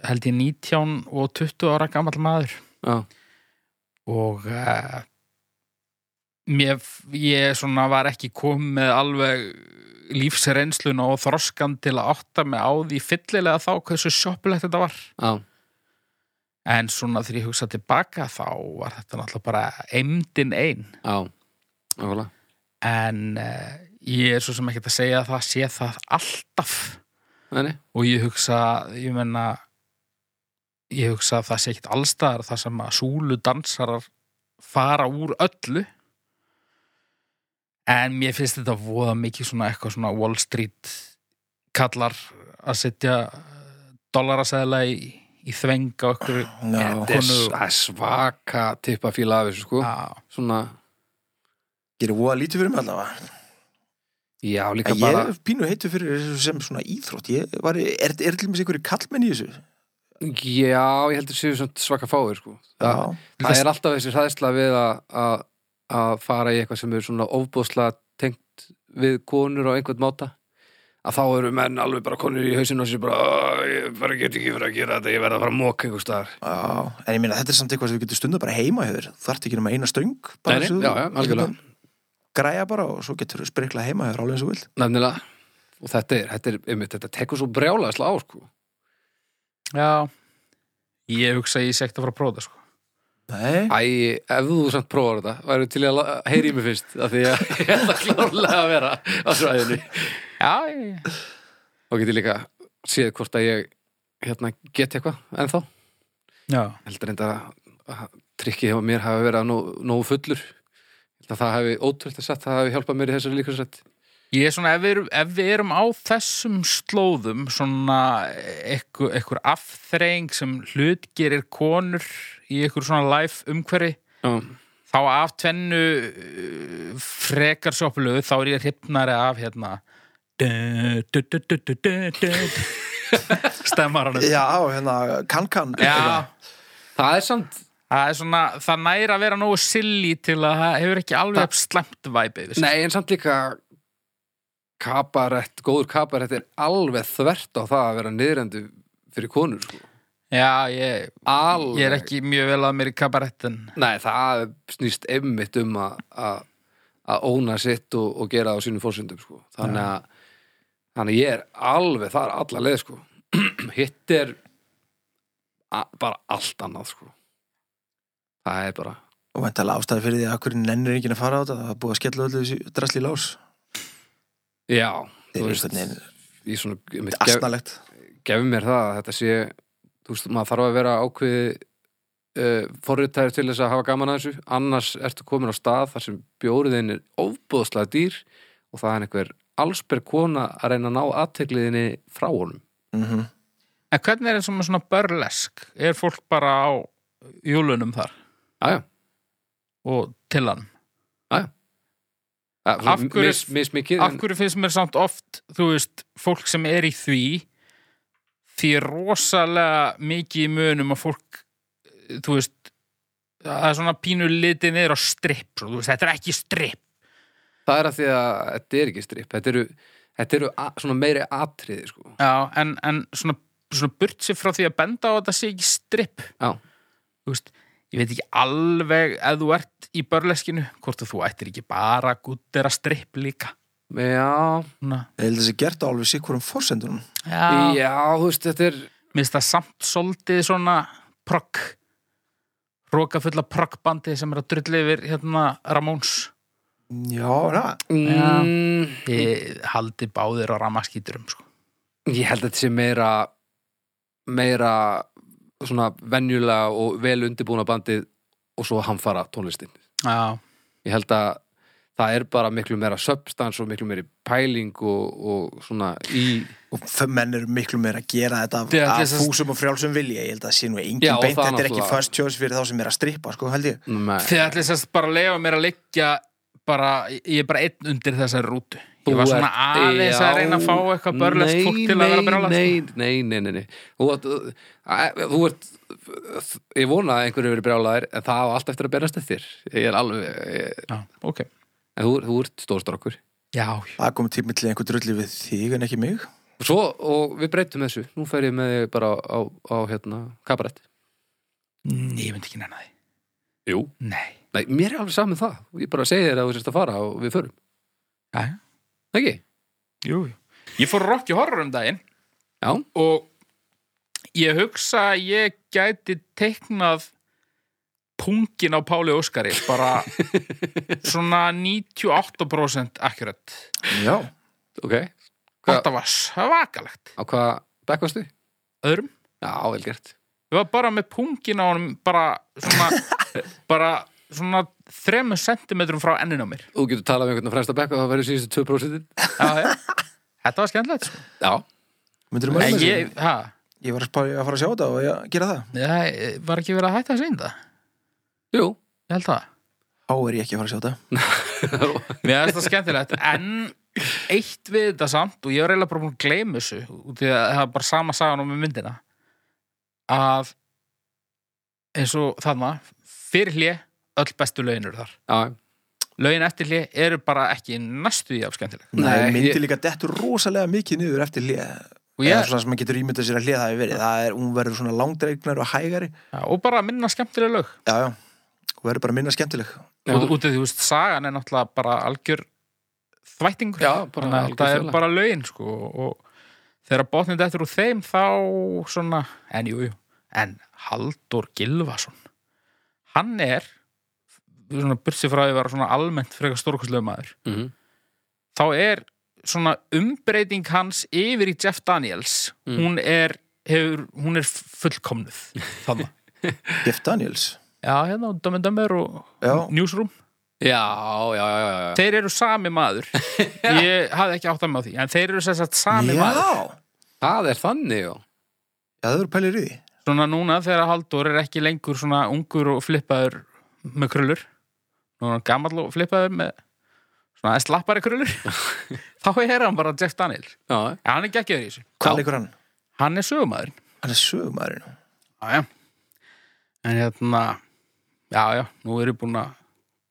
Speaker 1: held ég 19 og 20 ára gamall maður
Speaker 3: já,
Speaker 1: og uh, mér, ég svona var ekki komið með alveg lífsreynsluna og þroskan til að átta mig á því fyllilega þá hversu sjoppulegt þetta var
Speaker 3: já,
Speaker 1: en svona þegar ég hugsa tilbaka þá var þetta náttúrulega bara eimdin ein
Speaker 3: já Nákvæmlega.
Speaker 1: en uh, ég er svo sem ekkert að segja að það sé það alltaf
Speaker 3: Nei, nei.
Speaker 1: og ég hugsa, ég menna ég hugsa að það sé ekkert allstaðar það sem að súlu dansarar fara úr öllu en mér finnst þetta voða mikið svona eitthvað svona Wall Street kallar að setja eh, dollarasæðla í, í þveng á okkur
Speaker 2: Já,
Speaker 1: Þetta er
Speaker 3: Konu- það er svaka tippafíla af þessu sko svona,
Speaker 2: gerir voða lítið fyrir mig allavega.
Speaker 3: já, líka
Speaker 2: En ég
Speaker 3: bara
Speaker 2: er pínu heitu fyrir þessu sem svona íþrótt. Ég var, er, er til mér einhverju kallmenn í þessu?
Speaker 3: já, ég heldur séu svona svaka fáir sko það,
Speaker 2: Já,
Speaker 3: það er alltaf þessi hræðsla við að- að að fara í eitthvað sem er svona ofbúðslega tengt við konur á einhvern máta að þá eru menn alveg bara konur í hausinu og sér bara, "Ó, ég bara get ekki fyrir að gera þetta ég verð að fara að móka einhvers staðar
Speaker 2: já. En ég meina, þetta er samt eitthvað sem við getum stundar bara heima hefur. Þú ert ekki nema eina stöng. bara
Speaker 3: Nei, nei,
Speaker 2: sem þú-
Speaker 3: já, já, algjörlega.
Speaker 2: sem þú Græja bara og svo getur þú sprikla heima hefur alveg eins og vilt.
Speaker 3: nefnilega, og þetta er, þetta er einmitt, þetta tekur svo brjálaðislega á sko
Speaker 1: Já, ég hugsa að ég sé ekkert að fara að prófa það sko
Speaker 2: Nei.
Speaker 3: Æ, ef þú samt prófar þetta væri til í að la- heyra í mig fyrst af því að ég ætla klárlega að vera á svæðinu
Speaker 1: Já, ég,
Speaker 3: og geti líka séð hvort að ég hérna, get eitthvað ennþá
Speaker 1: já.
Speaker 3: heldur enda að að trikkið hjá mér hafi verið að nó, nógu fullur Ég held að það hafi ótrúlega sett það hafi hjálpað mér í þessari líkansrætt
Speaker 1: Ég er svona, ef við, erum, ef við erum á þessum slóðum, svona einhver, einhver afþreying sem hlutgerir konur í einhver svona life umhverfi,
Speaker 3: já,
Speaker 1: þá af tvennu uh, frekar sjoppulegu, þá er ég hrypnari af hérna stemmaranum.
Speaker 2: Já, hérna, kann-kann.
Speaker 1: Já,
Speaker 3: það er samt
Speaker 1: það er svona, það næri að vera nógu silly til að það hefur ekki
Speaker 3: Það-
Speaker 1: alveg upp slemt væpið.
Speaker 3: nei, en samt líka kabarett, góður kabarett er alveg þvert á það að vera niðrendu fyrir konur sko.
Speaker 1: Já, ég,
Speaker 3: alveg,
Speaker 1: ég er ekki mjög vel að mér í kabarettin
Speaker 3: nei, það snýst einmitt um að- að að óna sitt og, og gera það á sínum fórsöndum sko. þannig að þannig að ég er alveg þar alla leið sko. hitt er a, bara allt annað sko. það er bara
Speaker 2: Og vantala ástæði fyrir því að hverju nennir enginn að fara á þetta. Það er búið að skella öllu þessu drasli í lás.
Speaker 3: já,
Speaker 2: Þeir eru einhvern veginn
Speaker 3: ég svona einmitt gef,
Speaker 2: asnalegt.
Speaker 3: gefur mér það að þetta sé þú veist, maður þarf að vera ákveði uh, forritæri til þess að hafa gaman að þessu annars ertu komin á stað þar sem bjóriðin er ofbúðslega dýr og það er einhver allsberg kona að reyna að ná aðtekliðinni frá honum
Speaker 2: Mm -hmm.
Speaker 1: En hvernig er eins og með svona börlesk? Er fólk bara á júlunum þar
Speaker 3: Jæja,
Speaker 1: og til hann?
Speaker 3: ja,
Speaker 1: Af hverju-
Speaker 3: mis, mis mikið
Speaker 1: Af hverju finnst mér samt oft, þú veist, fólk sem er í því því er rosalega mikið í munum að fólk, þú veist það er svona pínu litið niður á stripp, svo, þú veist, þetta er ekki stripp
Speaker 3: en það er að því að þetta er ekki strip þetta eru, þetta eru a, svona meiri atriði sko.
Speaker 1: Já, en, en svona, svona burt sér frá því að benda á að þetta sé ekki stripp
Speaker 3: Já.
Speaker 1: þú veist, ég veit ekki alveg ef þú ert í börleskinu hvort að þú ættir ekki bara að guttera stripp líka
Speaker 3: Já,
Speaker 1: Svona,
Speaker 2: Ég held að þessi gert á alveg sér hverjum forsendunum.
Speaker 1: já,
Speaker 3: já, þú veist, þetta er
Speaker 1: minnst það samt svolítið svona progg roka fulla proggbandi sem er að drulli yfir hérna Ramóns
Speaker 2: Já, na.
Speaker 1: Já.
Speaker 3: mm,
Speaker 1: ég haldi báðir á ramaskíturum sko.
Speaker 3: Ég held að þetta sé meira meira svona venjulega og vel undirbúna bandið og svo hamfara tónlistin
Speaker 1: já,
Speaker 3: Ég held að það er bara miklu meira substans og miklu meiri pæling og, og svona í
Speaker 2: og f- menn eru miklu meira að gera
Speaker 1: Þið
Speaker 2: þetta
Speaker 1: ætlið
Speaker 2: af
Speaker 1: þess að-
Speaker 2: fúsum og frjálsum vilja ég held að það sé nú engin
Speaker 3: Já, og
Speaker 2: beint,
Speaker 3: það
Speaker 2: þetta er ekki
Speaker 3: náttúrulega.
Speaker 2: first choice fyrir þá sem er að strippa sko held ég
Speaker 3: með,
Speaker 1: Þið ætlið sérst bara að leifa mér að liggja bara, ég er bara einn undir þessari rútu Ég var svona aðeins að reyna að fá eitthvað börlust fólk til að sko. vera brjálast
Speaker 3: nei, nei, nei, nei, nei. Þú, ert, að, þú ert ég vona að einhverju verið brjálaðir en það á allt eftir að berast eftir ég er alveg ég,
Speaker 1: Já, ok
Speaker 3: en þú, þú ert stórstrákur
Speaker 1: Já,
Speaker 2: það komið tími til einhver drulli við þig en ekki mig
Speaker 3: og svo, og við breytum þessu nú fer ég með þig bara á, á, á hérna, kabarett
Speaker 1: nei, ég myndi ekki nenni því
Speaker 3: Jú.
Speaker 1: Nei,
Speaker 3: nei, mér er alveg saman það ég bara segi þér að þú sérst að fara og við förum
Speaker 1: já, já,
Speaker 3: ekki?
Speaker 1: jú jú. Ég fór á Rocky Horror um daginn
Speaker 3: Já,
Speaker 1: og ég hugsa að ég gæti teiknað pungin á Páli Óskari bara svona 98% akkurat
Speaker 2: já,
Speaker 3: ok Hva-
Speaker 1: Þetta var svakalegt
Speaker 3: á hvað bekkastu?
Speaker 1: Öðrum
Speaker 3: Já, vel gert
Speaker 1: Við var bara með pungin á honum bara svona, bara svona þremur sentimetrum frá ennin á mér
Speaker 3: Þú getur talað um einhvern á fremsta bekka og það verður síðustu 2%
Speaker 1: já, já. Þetta var skemmtilegt sko.
Speaker 3: Já,
Speaker 2: myndirðu
Speaker 1: En
Speaker 2: mæla með
Speaker 1: ég,
Speaker 2: þessu?
Speaker 1: ha,
Speaker 2: ég var að spá- að fara að sjá þetta og ég gera það
Speaker 1: ég var ekki verið að hætta að segja um það
Speaker 3: jú
Speaker 1: Ég held það
Speaker 2: þá er ég ekki að fara að sjá þetta
Speaker 1: Mér finnst það skemmtilegt En eitt við þetta samt og ég var eiginlega bara búin að gleyma þessu út því að það er bara sama sagan um myndina að eins og þarna fyrir hlje öll bestu lögin eru þar
Speaker 3: Já,
Speaker 1: lögin eftir hlje eru bara ekki næstu í af skemmtileg
Speaker 2: Nei,
Speaker 3: Nei,
Speaker 2: myndi
Speaker 3: ég-
Speaker 2: líka dettur rosalega mikið niður eftir hlið
Speaker 1: og,
Speaker 2: eða
Speaker 1: ég,
Speaker 2: svona sem maður getur ímyndað sér að hlið hafi verið það er, hún verður svona langdreiknar og hægari
Speaker 1: ja, og bara minna skemmtileg lög
Speaker 2: já, já, hún verður bara minna skemmtileg
Speaker 3: Já.
Speaker 1: út, út af því, þú veist, sagan er náttúrulega bara algjör þvættingur
Speaker 3: Já, bara
Speaker 1: Þannig að
Speaker 3: algjör
Speaker 1: það er
Speaker 3: þvæla.
Speaker 1: bara lögin sko, og þegar botnið dættur úr þeim þá svona, en jú, jú en Haldur Gilvason hann er svona bursi frá því að vera svona almennt frekar stórkostlegu maður,
Speaker 3: mm
Speaker 1: þá er svona umbreyting hans yfir í Jeff Daniels
Speaker 3: Mm.
Speaker 1: hún er, hefur, hún er fullkomnuð þannig,
Speaker 2: Jeff Daniels
Speaker 1: já, hérna, Dömmen Dömmer og
Speaker 2: já,
Speaker 1: Newsroom
Speaker 3: já, já, já, já, já.
Speaker 1: Þeir eru sami maður Ég hafði ekki átt að með því En þeir eru sem sagt sami
Speaker 2: já.
Speaker 1: maður
Speaker 2: já
Speaker 3: Það er þannig, já
Speaker 2: það eru pælir í því
Speaker 1: Svona núna þegar Haldur er ekki lengur svona ungur og flippaður með krullur Nú er hann gamall og flippaður með svona aðeins lappari krullur Þá er hann bara Jeff Daniel
Speaker 3: Já,
Speaker 1: En hann er geggjöður í þessu
Speaker 2: hvað leikur hann?
Speaker 1: Hann er sögumæðurinn
Speaker 2: hann er sögumæðurinn
Speaker 1: Já, já En hérna Já, já, nú er ég búin að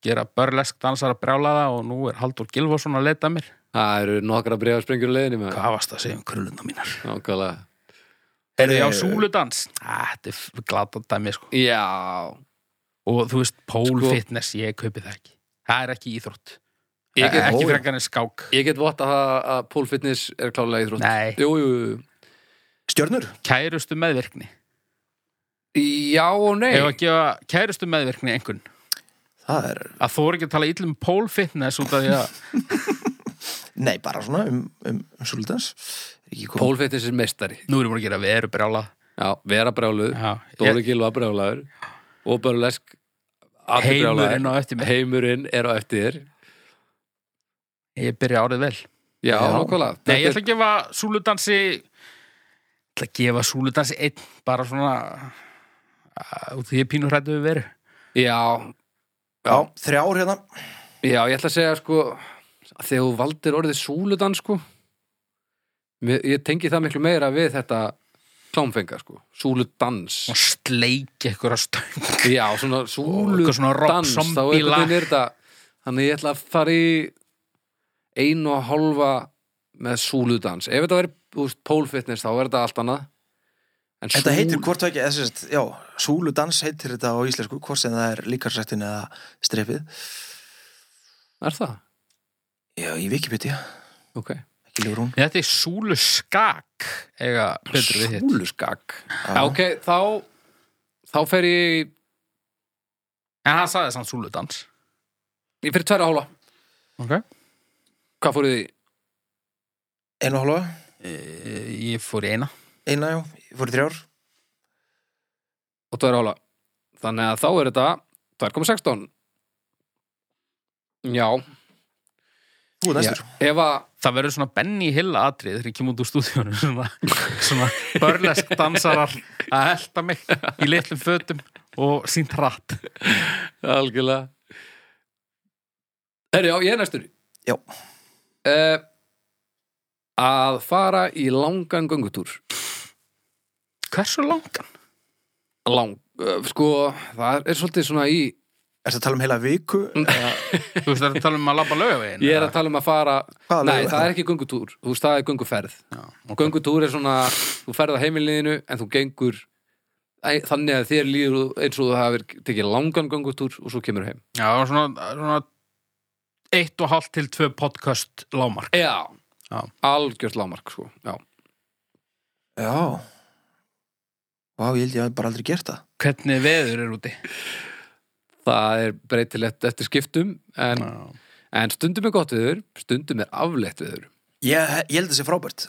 Speaker 1: gera börlesk dansar að brjála það og nú er Haldur Gilvason að leita að mér
Speaker 3: það eru nokkra bregðar sprengjur leiðinni með
Speaker 1: Hvað varst að segja um krulluna mínar?
Speaker 3: Nákvæmlega
Speaker 1: Eru þið á súludans? Ah, þetta er glata dæmi sko.
Speaker 3: Já
Speaker 1: Og þú veist, pole
Speaker 3: Sko-
Speaker 1: fitness, ég kaupi það ekki Það er ekki íþrótt
Speaker 3: Ég
Speaker 1: Ég
Speaker 3: get-
Speaker 1: Ekki
Speaker 2: Ó, já.
Speaker 1: frekar en skák
Speaker 3: Ég get votta það að pole fitness er klálega íþrótt
Speaker 1: Nei.
Speaker 3: Jú, jú, jú
Speaker 2: stjörnur?
Speaker 1: Kærustu meðvirkni
Speaker 3: Já og nei
Speaker 1: Ef að gefa kærustu meðvirkni einhvern
Speaker 2: það er,
Speaker 1: Að þú er ekki að tala ítlum pole fitness út af því að
Speaker 2: nei bara svona um, um, um svolítans er ekki komið
Speaker 3: Pole fitness er meistari
Speaker 1: Nú erum við að gera veru brjála
Speaker 3: Já, vera brjáluð
Speaker 1: Já,
Speaker 3: Dóri Gilva brjálaður Og börlesk allir
Speaker 1: Heimurinn
Speaker 3: brjálaðir.
Speaker 1: á eftir mér
Speaker 3: Heimurinn er á eftir þér.
Speaker 1: Ég byrja árið vel
Speaker 3: Já,
Speaker 2: Já.
Speaker 3: nákvæmlega
Speaker 1: Nei, ég ætla að gefa súludansi Ég ætla að gefa súludansi einn Bara svona að- Út af því ég pínur hrættu við veru
Speaker 3: Já,
Speaker 2: já, þrjár hérna
Speaker 3: Já, ég ætla að segja sko að þegar þú valdir orðið súludan sko mér- ég tengi það miklu meira við þetta klámfenga sko, súludans
Speaker 1: og sleik eitthvað stöng
Speaker 3: Já, svona
Speaker 1: eitthvað svona rock
Speaker 3: súludans
Speaker 1: zombie
Speaker 3: þá er einhvern
Speaker 1: lag.
Speaker 3: veginn er þetta þannig ég ætla að fara í einu og hálfa með súludans ef þetta verið, þú veist, pole fitness þá er þetta allt annað en
Speaker 2: þetta heitir hvort vekja, eða sérst, já súludans heitir þetta á íslensku hvort sem það er líkarsrættin eða strefið
Speaker 3: Er það?
Speaker 2: já, í Wikipedia,
Speaker 3: Ok
Speaker 2: ekki ljúr hún
Speaker 1: Þetta er súlu skak eiga betur við hitt
Speaker 3: Súluskak Já, ok, þá þá fer ég í-
Speaker 1: En hann sagði samt súludans
Speaker 3: ég fer í tverja hálfa
Speaker 1: okay.
Speaker 3: Hvað fóruð þið í?
Speaker 2: einu og hálfa,
Speaker 1: Eh, Ég fór í eina
Speaker 2: eina já, ég fór í þrjár
Speaker 3: og tvær hóla þannig að þá er þetta 2,16 já,
Speaker 2: Þú er næstur.
Speaker 3: Ef að,
Speaker 1: Það verður svona Benny Hill atrið þegar ég kem út úr stúdíunum svona, svona börlesk dansarar að elta mig í litlum fötum og sínt hratt
Speaker 3: algjörlega Herri, já, ég er næstur
Speaker 2: Já.
Speaker 3: Eh, Að fara í langan göngutúr
Speaker 1: Hversu langan?
Speaker 3: Lang, eh, sko, það er svolítið svona í
Speaker 2: Ertu að tala um heila viku?
Speaker 3: Mm.
Speaker 1: Þú veist þetta tala um að labba laugavegin
Speaker 3: Ég er að tala um að fara
Speaker 2: Hvaða
Speaker 3: Nei,
Speaker 2: laug er
Speaker 3: það
Speaker 2: það?
Speaker 3: er ekki göngutúr, þú veist, það er gönguferð
Speaker 1: Já,
Speaker 3: Og
Speaker 1: ok.
Speaker 3: Göngutúr er svona, þú ferð á heimiliðinu en þú gengur æ, þannig að þér líður eins og þú hafir tekið langan göngutúr og svo kemur heim.
Speaker 1: Já svona, svona eitt og hálft til tvö podcast lámark
Speaker 3: Já,
Speaker 1: Já.
Speaker 3: algjört lámark sko. Já.
Speaker 2: Já. Vá, ég held ég að bara aldrei gert það.
Speaker 1: Hvernig veður er úti?
Speaker 3: Það er breytilegt eftir skiptum en,
Speaker 1: Já.
Speaker 3: en stundum er gott viður, stundum er aflegt viður.
Speaker 2: Ég, ég held þessi frábært.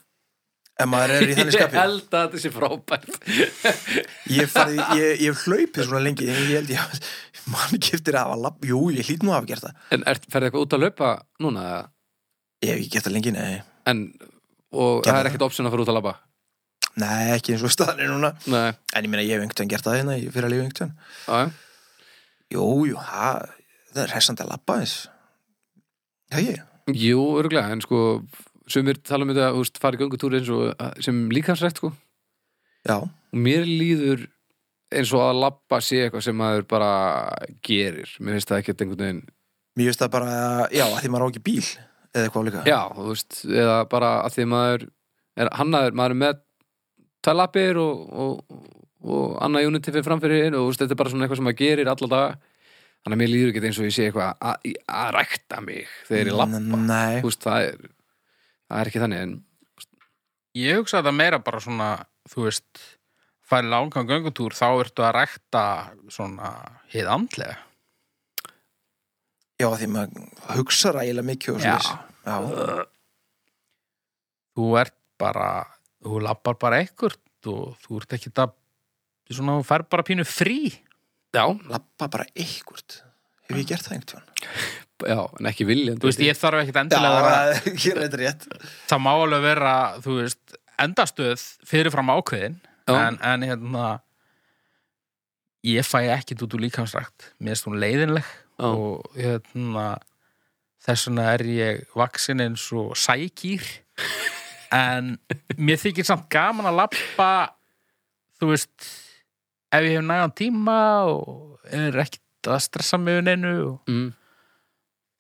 Speaker 2: Ef maður er í þannig
Speaker 3: Ég
Speaker 2: skapi.
Speaker 3: held að þetta sé frábært.
Speaker 2: Ég, farið, ég, ég hef hlaupið svona lengi. Ég held ég að mann ekki eftir að hafa lapp. Jú, ég hlýt nú að hafa gert það.
Speaker 3: En er, ferði eitthvað út að laupa núna? eða?
Speaker 2: Ég hef ekki gert það lengi, nei.
Speaker 3: En,
Speaker 2: Gerðu
Speaker 3: og það er
Speaker 2: það.
Speaker 3: ekkert option að fara út að labba?
Speaker 2: Nei, ekki eins og staðan er núna.
Speaker 3: Nei,
Speaker 2: En ég meina, ég hef einhvern veginn gert það hérna. Ég fyrir að lifa einhvern veginn.
Speaker 3: já, já.
Speaker 2: Jú, jú, ha, það er hressandi að lappa eins. Já, ég.
Speaker 3: Jú, örgulega, en sko sumir tala um þetta, þú veist, fara í göngutúr eins og að- sem líkansrætt, sko og
Speaker 2: Já.
Speaker 3: mér líður eins og að labba sé eitthvað sem maður bara gerir, mér finnst það ekkert einhvern veginn,
Speaker 2: Mér finnst það bara, já, að því maður á ekki bíl eða eitthvað líka.
Speaker 3: já, þú veist eða bara að því maður er hannaður, maður er með tvær lappir og, og, og annað unity fyrir framfyrir og þú veist, þetta er bara svona eitthvað sem maður gerir alla daga, þannig að mér líður ekkert eins og ég sé eitthvað að- í- að rækta mig þegar ég labba,
Speaker 2: Nei,
Speaker 3: þú veist, það er það er ekki þannig, en
Speaker 1: Ég hugsa þetta meira bara svona, þú veist, færi langan göngutúr, þá ertu að rækta svona hið andlega.
Speaker 2: já, því maður hugsa rægilega mikið og
Speaker 1: Já.
Speaker 2: svo Já,
Speaker 1: Þú ert bara, þú lappar bara ekkert og þú ert ekki að, svona, þú fær bara pínu frí.
Speaker 3: já,
Speaker 2: lappa bara eitthvert. Hef ég gert það einhvern veginn?
Speaker 3: já, en ekki viljandi
Speaker 1: Þú veist, ég þarf ekkert
Speaker 2: Já,
Speaker 1: endilega að,
Speaker 2: það er ekki reynd rétt.
Speaker 1: það má alveg vera, þú veist, endastöð fyrirfram ákveðin,
Speaker 3: Já.
Speaker 1: en, en hérna, ég fæ ekkert út úr líkamsrækt. Mér erst hún leiðinleg
Speaker 3: Já.
Speaker 1: og hérna, þess vegna er ég vaksin eins og sækýr en mér þykir samt gaman að lappa þú veist ef ég hef nægan tíma og er ekkert að stressa mig um neinu og
Speaker 3: mm.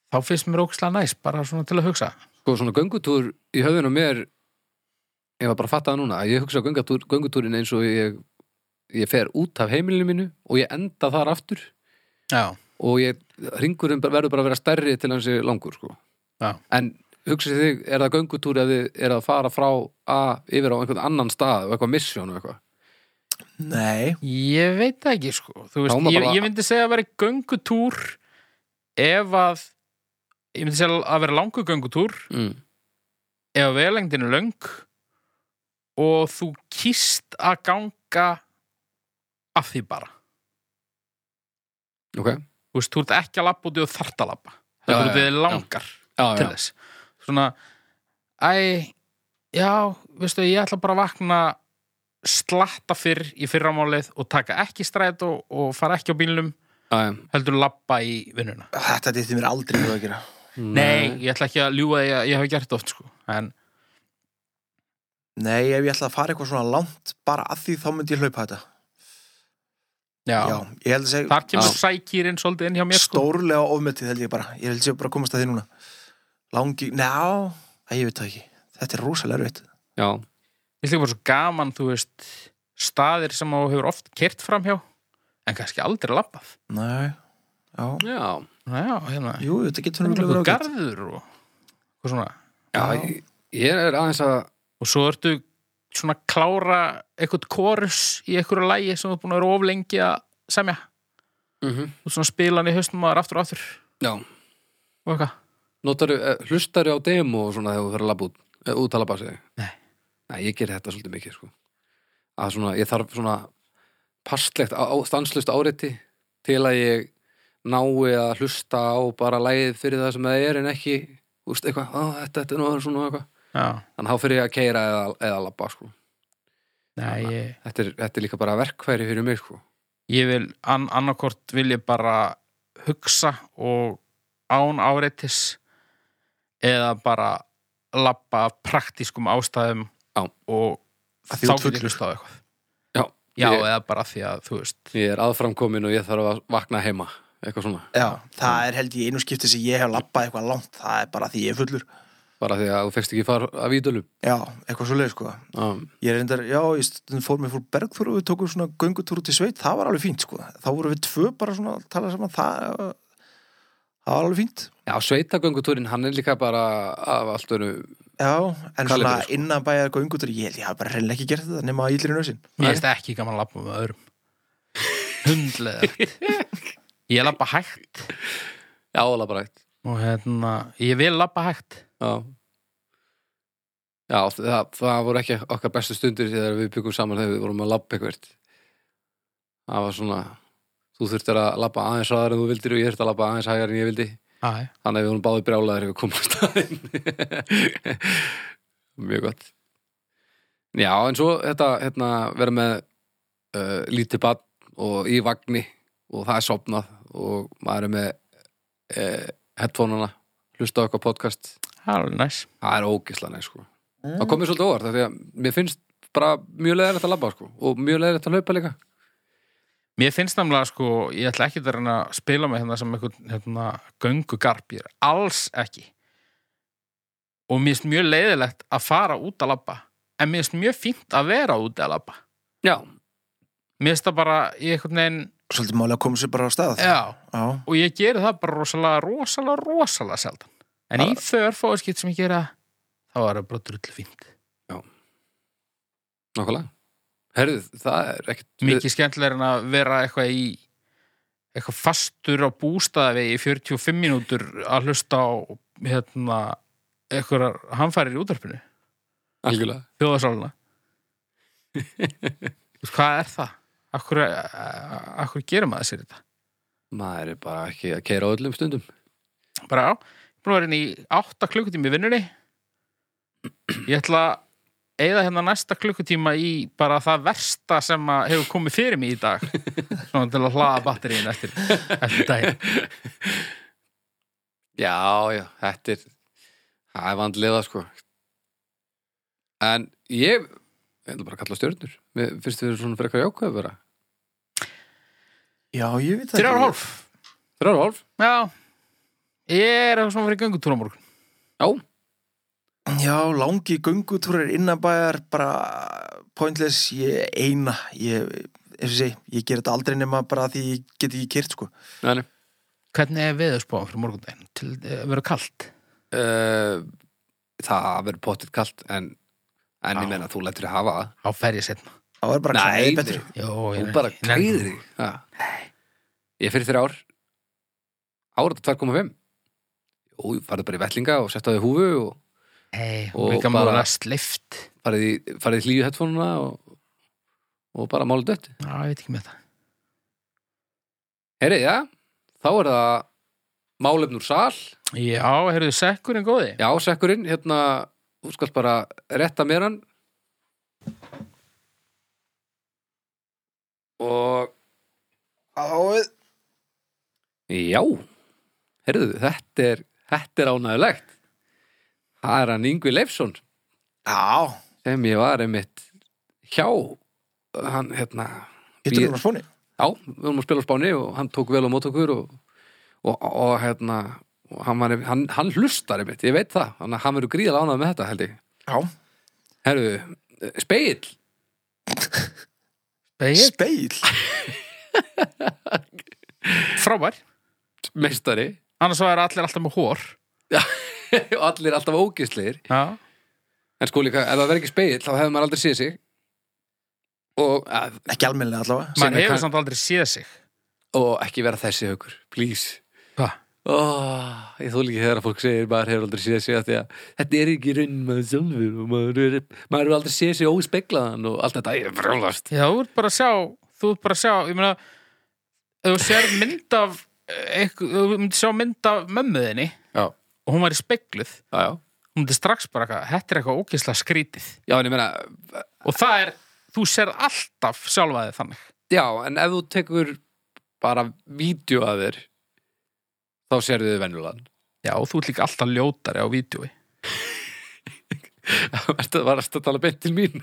Speaker 1: þá finnst mér ókslega næst bara svona til að hugsa
Speaker 3: sko svona göngutúr í höfðinu á mér ég var bara að fatta það núna að ég hugsa göngutúr, göngutúrin eins og ég ég fer út af heimilinu mínu og ég enda þar aftur
Speaker 1: Já,
Speaker 3: og ég, ringurinn bara- verður bara að vera stærri til hans er langur sko
Speaker 1: Já.
Speaker 3: en hugsið þig, er það göngutúr ef þið er að fara frá A yfir á einhvern annan stað og eitthvað misjón og eitthvað
Speaker 2: Nei,
Speaker 1: ég veit það ekki sko þú
Speaker 3: Já,
Speaker 1: veist,
Speaker 3: maður
Speaker 1: ég,
Speaker 3: bara-
Speaker 1: ég myndi segja að vera göngutúr ef að ég myndi segja að vera langur göngutúr
Speaker 3: mm.
Speaker 1: ef veðlengdin er löng og þú kýst að ganga af því bara
Speaker 3: ok,
Speaker 1: þú veist, þú ert ekki að lappa út í og þart að lappa
Speaker 3: Já,
Speaker 1: það er út í
Speaker 3: já,
Speaker 1: þið langar
Speaker 3: já,
Speaker 1: til þess svona, æ já, veistu, ég ætla bara að vakna slatta fyrr í fyrramálið og taka ekki stræt og, og fara ekki á bílnum
Speaker 3: já, já.
Speaker 1: heldur lappa í vinnuna
Speaker 2: þetta dýtti mér aldrei í hug að gera.
Speaker 1: nei, ég ætla ekki að ljúga því að ég hef gert þetta oft sko. en
Speaker 2: Nei, ef ég ætla að fara eitthvað svona langt, bara að því þá myndi ég hlaupa þetta.
Speaker 1: já,
Speaker 2: Já, ég held að segja
Speaker 1: þar kemur sækýrin svolítið inn hjá mér sko.
Speaker 2: stórlega ofmetið held ég bara. Ég held að segja bara að komast að því núna. Langi, njá, Æ, ég veit það ekki. Þetta er rosalega erfitt.
Speaker 3: já,
Speaker 1: Mér finnst líka bara svo gaman, þú veist, staðir sem þú hefur oft kert framhjá, en kannski aldrei labbað.
Speaker 2: Nei, já.
Speaker 3: já,
Speaker 1: Já, hérna,
Speaker 2: Jú, þetta getur
Speaker 1: það er
Speaker 2: nú
Speaker 1: einhver garður og, og svona.
Speaker 3: já ég, ég er aðeins að
Speaker 1: Og svo ertu svona að klára eitthvað kórus í einhverju lægi sem þú er búin að vera of lengi að semja.
Speaker 3: mm
Speaker 1: Þú ert svona að spila hann í haustum maður aftur og aftur
Speaker 3: já,
Speaker 1: og eitthvað.
Speaker 3: Notaru, hlustaru eh, á demo og svona þegar þú fyrir að labba út, eh, út að labba sig?
Speaker 1: Nei.
Speaker 3: Nei, ég ger þetta svolítið mikið, sko. Að svona, ég þarf svona pastlegt, á, stanslust áreiti til að ég nái að hlusta á bara lægið fyrir það sem það er en ekki úst, eitthvað, "Ó, þetta, þetta er nú aðeins svona og eitthvað
Speaker 1: já,
Speaker 3: þannig þá fyrir ég að keira eða, eða labba sko.
Speaker 1: nei, ég,
Speaker 3: þetta, er, þetta er líka bara verkfæri fyrir mig sko.
Speaker 1: ég vil, an, annarkort vil ég bara hugsa og án áreitis eða bara labba af praktískum ástæðum
Speaker 3: Já.
Speaker 1: og
Speaker 2: Að því
Speaker 1: þá
Speaker 2: þú
Speaker 1: get ég
Speaker 2: ert fullur.
Speaker 1: hlusta á eitthvað
Speaker 3: já,
Speaker 1: já,
Speaker 3: ég,
Speaker 1: eða bara því að, þú veist
Speaker 3: ég er aðframkomin og ég þarf að vakna heima eitthvað svona,
Speaker 2: Já, það er held ég einu skipti sem ég hef lappað eitthvað langt, það er bara því ég er fullur.
Speaker 3: bara því að þú fekst ekki far af ídölum
Speaker 2: Já, eitthvað svo leið, sko.
Speaker 3: um,
Speaker 2: Ég reyndar, já, ég stundum fór mér fór Bergþór og við tókum svona göngutúr út í sveit, það var alveg fínt, sko. Þá voru við tvö bara svona að tala saman, það, það var alveg fínt.
Speaker 3: já, sveitagöngutúrin, hann er líka bara af allt öru
Speaker 2: Já, en
Speaker 3: Kalibri,
Speaker 2: svona
Speaker 3: sko.
Speaker 2: innan bæjar göngutúr, ég held ég hafa bara reynilega ekki gert þetta nema að ílir í nössin.
Speaker 1: Mér finnst ekki gaman að labba með öðrum Hundlega Ég labba hægt
Speaker 3: já, alveg bara eitt
Speaker 1: og hérna, ég vil labba hægt
Speaker 3: já, já það, það voru ekki okkar bestu stundir þegar við byggum saman þegar við vorum að labba eitthvað það var svona þú þurftir að labba aðeins aðar en þú vildir og ég þurfti að labba aðeins hægar en ég vildi
Speaker 1: Æ,
Speaker 3: Þannig að við vorum báði brjálaðir ef við komum á staðinn. Mjög gott. Já, en svo þetta, hérna, vera með uh, lítið bann og í vagni og það er sopnað og maður er með uh, headphoneana, hlusta á eitthvað podcast.
Speaker 1: það er alveg næs
Speaker 3: Það er ógislega neins, sko. Það kom mér svolítið óvart, af því að mér finnst bara mjög leðilegt að labba, sko, og mjög leðilegt að laupa líka.
Speaker 1: Mér finnst namlega sko, ég ætla ekki að reyna að spila með hérna sem einhvern hérna, göngugarp, ég er alls ekki og mér finnst mjög leiðilegt að fara út að labba en mér finnst mjög fínt að vera út að labba
Speaker 3: Já,
Speaker 1: Mér finnst það bara í einhvern veginn
Speaker 2: Svolítið máli að koma sér bara á stað.
Speaker 1: Já,
Speaker 2: Já.
Speaker 1: og ég geri það bara rosalega, rosalega, rosalega sjaldan en í þörfóðskipt sem ég gera þá er það bara drullu fínt
Speaker 3: nokkulega. Herðu, það er ekkert...
Speaker 1: mikið skemmtilega en að vera eitthvað í eitthvað fastur á bústaðavegi í 45 mínútur að hlusta á hérna, eitthvað hamfærir í útvarpinu
Speaker 3: Algjörlega.
Speaker 1: þjóðasáluna Þú veist, hvað er það? Akkur, akkur gerir maður sér þetta?
Speaker 3: Maður er bara ekki að keira á öllum stundum.
Speaker 1: bara á búin að vera inn í 8 klukkutíma í vinnunni ég ætla að eigða hérna næsta klukkutíma í bara það versta sem að hefur komið fyrir mig í dag svona til að hlaða batterín eftir, eftir daginn
Speaker 3: Já, já, þetta er það er vandlega sko en ég ég ætla bara að kalla stjörnur Mér finnst þið svona frekar jákvæð að vera
Speaker 2: Já, ég veit það
Speaker 1: þrjár
Speaker 2: ekki.
Speaker 1: og hálf
Speaker 3: Þrjár og hálf?
Speaker 1: já, ég er um eitthvað svona fyrir göngutúr á morgun
Speaker 3: Já,
Speaker 2: Já, langi göngutúrar innanbæjar bara pointless, ég eina ég, ef ég segi, ég ger þetta aldrei nema bara því ég get ekki kyrt sko
Speaker 3: neðan
Speaker 1: hvernig er veðurspáðan fyrir morgundaginn til að vera kalt
Speaker 3: uh, Það verður pottitt kalt en, en
Speaker 1: Já.
Speaker 3: ég meina þú lætur þið hafa það
Speaker 1: á ferja setna
Speaker 2: það var bara
Speaker 3: Nei,
Speaker 2: klæðið
Speaker 3: nei.
Speaker 2: betur
Speaker 1: Jó,
Speaker 3: Þú bara greiðir þig Ha. Ég fyrir þrjár Árat 2,5 Jú, farðu bara í vellinga og settu á þig húfu og
Speaker 1: hey,
Speaker 3: Og
Speaker 1: og líka
Speaker 3: bara-
Speaker 1: maður að sleift
Speaker 3: farið í, farið í hlýju headphoneuna og, og bara máli dött
Speaker 1: já, ég veit ekki með það
Speaker 3: Heyri, já, þá er það málefn úr sal
Speaker 1: já, heyrðu sekkurinn góði
Speaker 3: Já, sekkurinn, hérna, þú skalt bara retta mér hann Og
Speaker 2: Áið,
Speaker 3: já, heyrðu, þetta er, þetta er ánægulegt Það er hann Yngvi Leifsson
Speaker 2: Já,
Speaker 3: sem ég var einmitt hjá hann, hérna,
Speaker 2: hittur
Speaker 3: Ég-
Speaker 2: hún á spóni
Speaker 3: Já, við vorum að spila á Spáni og hann tók vel á mót okkur og, og, og hérna og hann, var, hann, hann hlustar einmitt, ég veit það hann, hann verður gríðal ánað með þetta held ég
Speaker 2: Já,
Speaker 3: Herru, eh, speill
Speaker 1: Beir,
Speaker 2: speil
Speaker 1: frábær
Speaker 3: meistari
Speaker 1: annars var allir alltaf með hór
Speaker 3: og allir alltaf ógisleir
Speaker 1: já.
Speaker 3: en sko líka, ef það verður ekki speill þá hefur maður aldrei séð sig og, að,
Speaker 2: ekki almennilega allavega
Speaker 3: Sem
Speaker 1: maður
Speaker 3: er
Speaker 1: hefur
Speaker 3: kann-
Speaker 1: samt aldrei séð sig
Speaker 3: og ekki vera þessi haukur, please
Speaker 1: Hva?
Speaker 3: Oh, ég þóla ekki þegar að fólk segir maður hefur aldrei séð sig að því að þetta er ekki raun maður sjálfur og maður, er, maður hefur aldrei séð sig óspeglaðan og allt þetta, ég er frálast
Speaker 1: já, þú ert bara að sjá þú ert bara að sjá, ég meina eh, ef þú sér mynd af eitthvað, þú myndir sjá mynd af mömmuðinni
Speaker 3: Já.
Speaker 1: og hún var í spegluð
Speaker 3: já, já.
Speaker 1: hún myndi strax bara eitthvað, þetta er eitthvað ógeðslega skrítið
Speaker 3: Já, en ég meina,
Speaker 1: og það er, þú serð alltaf sjálfa þig þannig
Speaker 3: já, en ef þú tekur bara vídeo að þér, þá sérðu þið venjulegan.
Speaker 1: Já, og þú ert líka alltaf ljótari á vídjói
Speaker 3: Þetta var að tala beint til mín.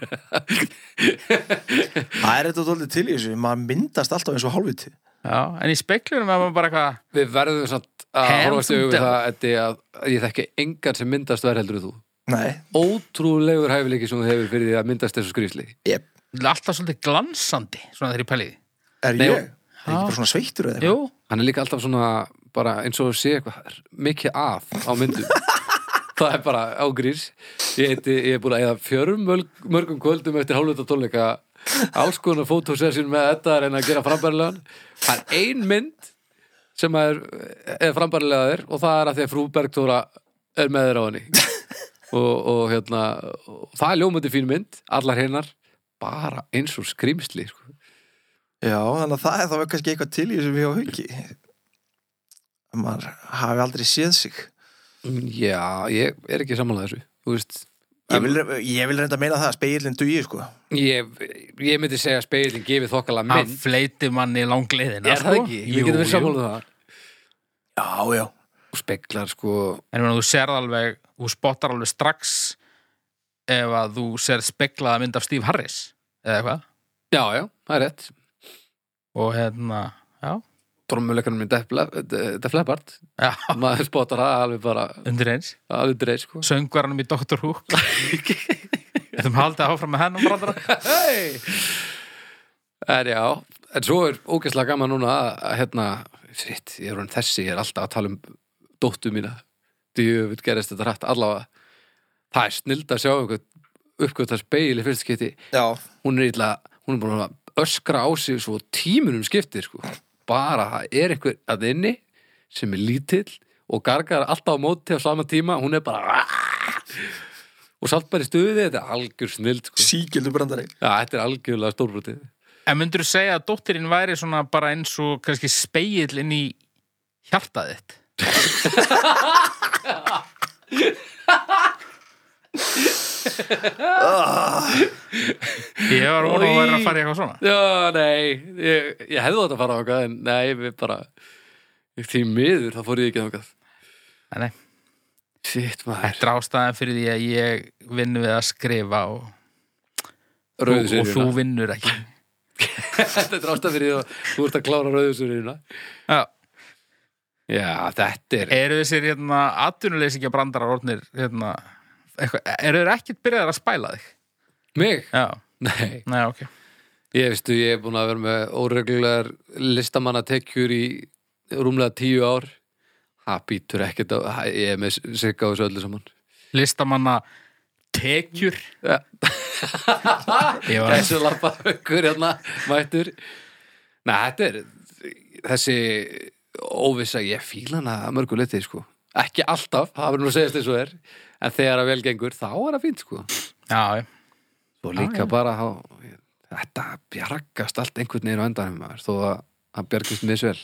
Speaker 2: Það er þetta dólið til í þessu, maður myndast alltaf eins og hálfviti.
Speaker 1: Já, en í speglunum er maður bara eitthvað
Speaker 3: Við verðum samt að
Speaker 1: Handsome
Speaker 3: horfast yfir
Speaker 1: devil.
Speaker 3: það Eddi, að, að ég þekki engan sem myndast verð heldur en þú.
Speaker 2: Nei,
Speaker 3: Ótrúlegur hæfileiki sem þú hefur fyrir því að myndast þessu skrýsli.
Speaker 2: ég,
Speaker 1: alltaf svolítið glansandi svona þegar ég pæli í því
Speaker 2: er
Speaker 3: Nei,
Speaker 2: ég?
Speaker 3: og-
Speaker 2: Er ég ekki bara svona sveittur eða
Speaker 1: Jú,
Speaker 2: eitthvað?
Speaker 3: Hann er líka alltaf svona bara eins og sé eitthvað mikið að á myndum. það er bara ágrís. Ég, heiti, ég er búin að eða fjörum mörgum kvöldum eftir hálfvita tónleika alls konar fótósessin með þetta að reyna að gera frambærilegan. Það er ein mynd sem er, er frambærilegaðir og það er að því að frú Bergdóra er með þér á henni. og, og hérna, og það er ljómandi fín mynd, allar hinnar, bara eins og skrimsli. Sko.
Speaker 2: Já, þannig að það er þá kannski eitthvað til í þessu við á hauki. Maður hafi aldrei séð sig.
Speaker 3: Já, ég er ekki samanlega þessu Þú veist,
Speaker 2: Ég vil, ég vil reynda að meina það að speilin dugi, sko.
Speaker 3: ég, ég myndi segja að speilin gefið þokkala
Speaker 1: hann
Speaker 3: mynd
Speaker 1: fleiti manni langleiðina sko.
Speaker 3: Er það ekki? Við getum verið samanlega um það
Speaker 2: Já, já.
Speaker 3: Og speklar sko
Speaker 1: En ég meina, þú serð alveg, þú spottar alveg strax ef að þú serð speklaða mynd af Steve Harris eða eitthvað
Speaker 3: Já, já, það er rétt
Speaker 1: og hérna, já,
Speaker 3: Drommuleikanum minn Def Leppard
Speaker 1: já
Speaker 3: Maður spotar það alveg bara
Speaker 1: undir eins,
Speaker 3: alveg dreif sko
Speaker 1: söngvaranum í Dr. Who Þetta um haldið áfram með hennum brandara
Speaker 3: Hei En já, en svo er ógeðslega gaman núna að, að hérna, shit, ég er hann þessi ég er alltaf að tala um dóttu mína djöfull gerist þetta rætt allavega það er snild að sjá einhvern uppgötta speil í fyrst skipti
Speaker 2: Já,
Speaker 3: hún er illa, hún er búin að öskra á sig svo tímunum skiptir sko. bara það er einhver að inni sem er lítill og gargar alltaf á móti á sama tíma hún er bara og samt bara í stuði þetta er algjör snild sko.
Speaker 2: síkildu brandari.
Speaker 3: ja, þetta er algjörlega stórbrotið
Speaker 1: En myndur þú segja að dóttirinn væri svona bara eins og kannski speill inn í hjartað þitt? Ég var vonað að vera að fara í eitthvað svona
Speaker 3: já, nei, ég, ég hefði þetta að fara á okkar en nei, við bara því miður, það fór ég ekki þangað
Speaker 1: Nei, nei.
Speaker 3: Sitt maður,
Speaker 1: Þetta er ástæðan fyrir því að ég vinn við að skrifa og, og,
Speaker 3: rauðu
Speaker 1: og þú
Speaker 3: sérjuna
Speaker 1: vinnur ekki
Speaker 3: Þetta er ástæð fyrir því að þú ert að klára rauðu sérjuna
Speaker 1: Já,
Speaker 3: Já, þetta er
Speaker 1: Eru þessir hérna atvinnuleysingja brandarar orðnir hérna, eitthvað, eru þeir ekkert byrjaðar að spæla þig?
Speaker 3: Mig?
Speaker 1: Já,
Speaker 3: Nei,
Speaker 1: nei, ok
Speaker 3: ég veistu, ég er búin að vera með óreglulegar listamannatekjur í rúmlega tíu ár. Það býtur ekkert á, það- ég er með sigga á þessu öllu saman.
Speaker 1: Listamanna tekjur
Speaker 3: Ja.
Speaker 1: Ég var
Speaker 3: Þessu lappa haukur hérna, mættur. Nei, þetta er, þessi óvissa, ég fíla hana að mörgu liti, sko. Ekki alltaf, það verður nú að segjast eins og er, en þegar að vel gengur, þá er það fínt, sko.
Speaker 1: Já, já.
Speaker 3: Svo líka bara, þá, þetta bjargast allt einhvern veginn á endanum, maður, þó að það bjargist misvel.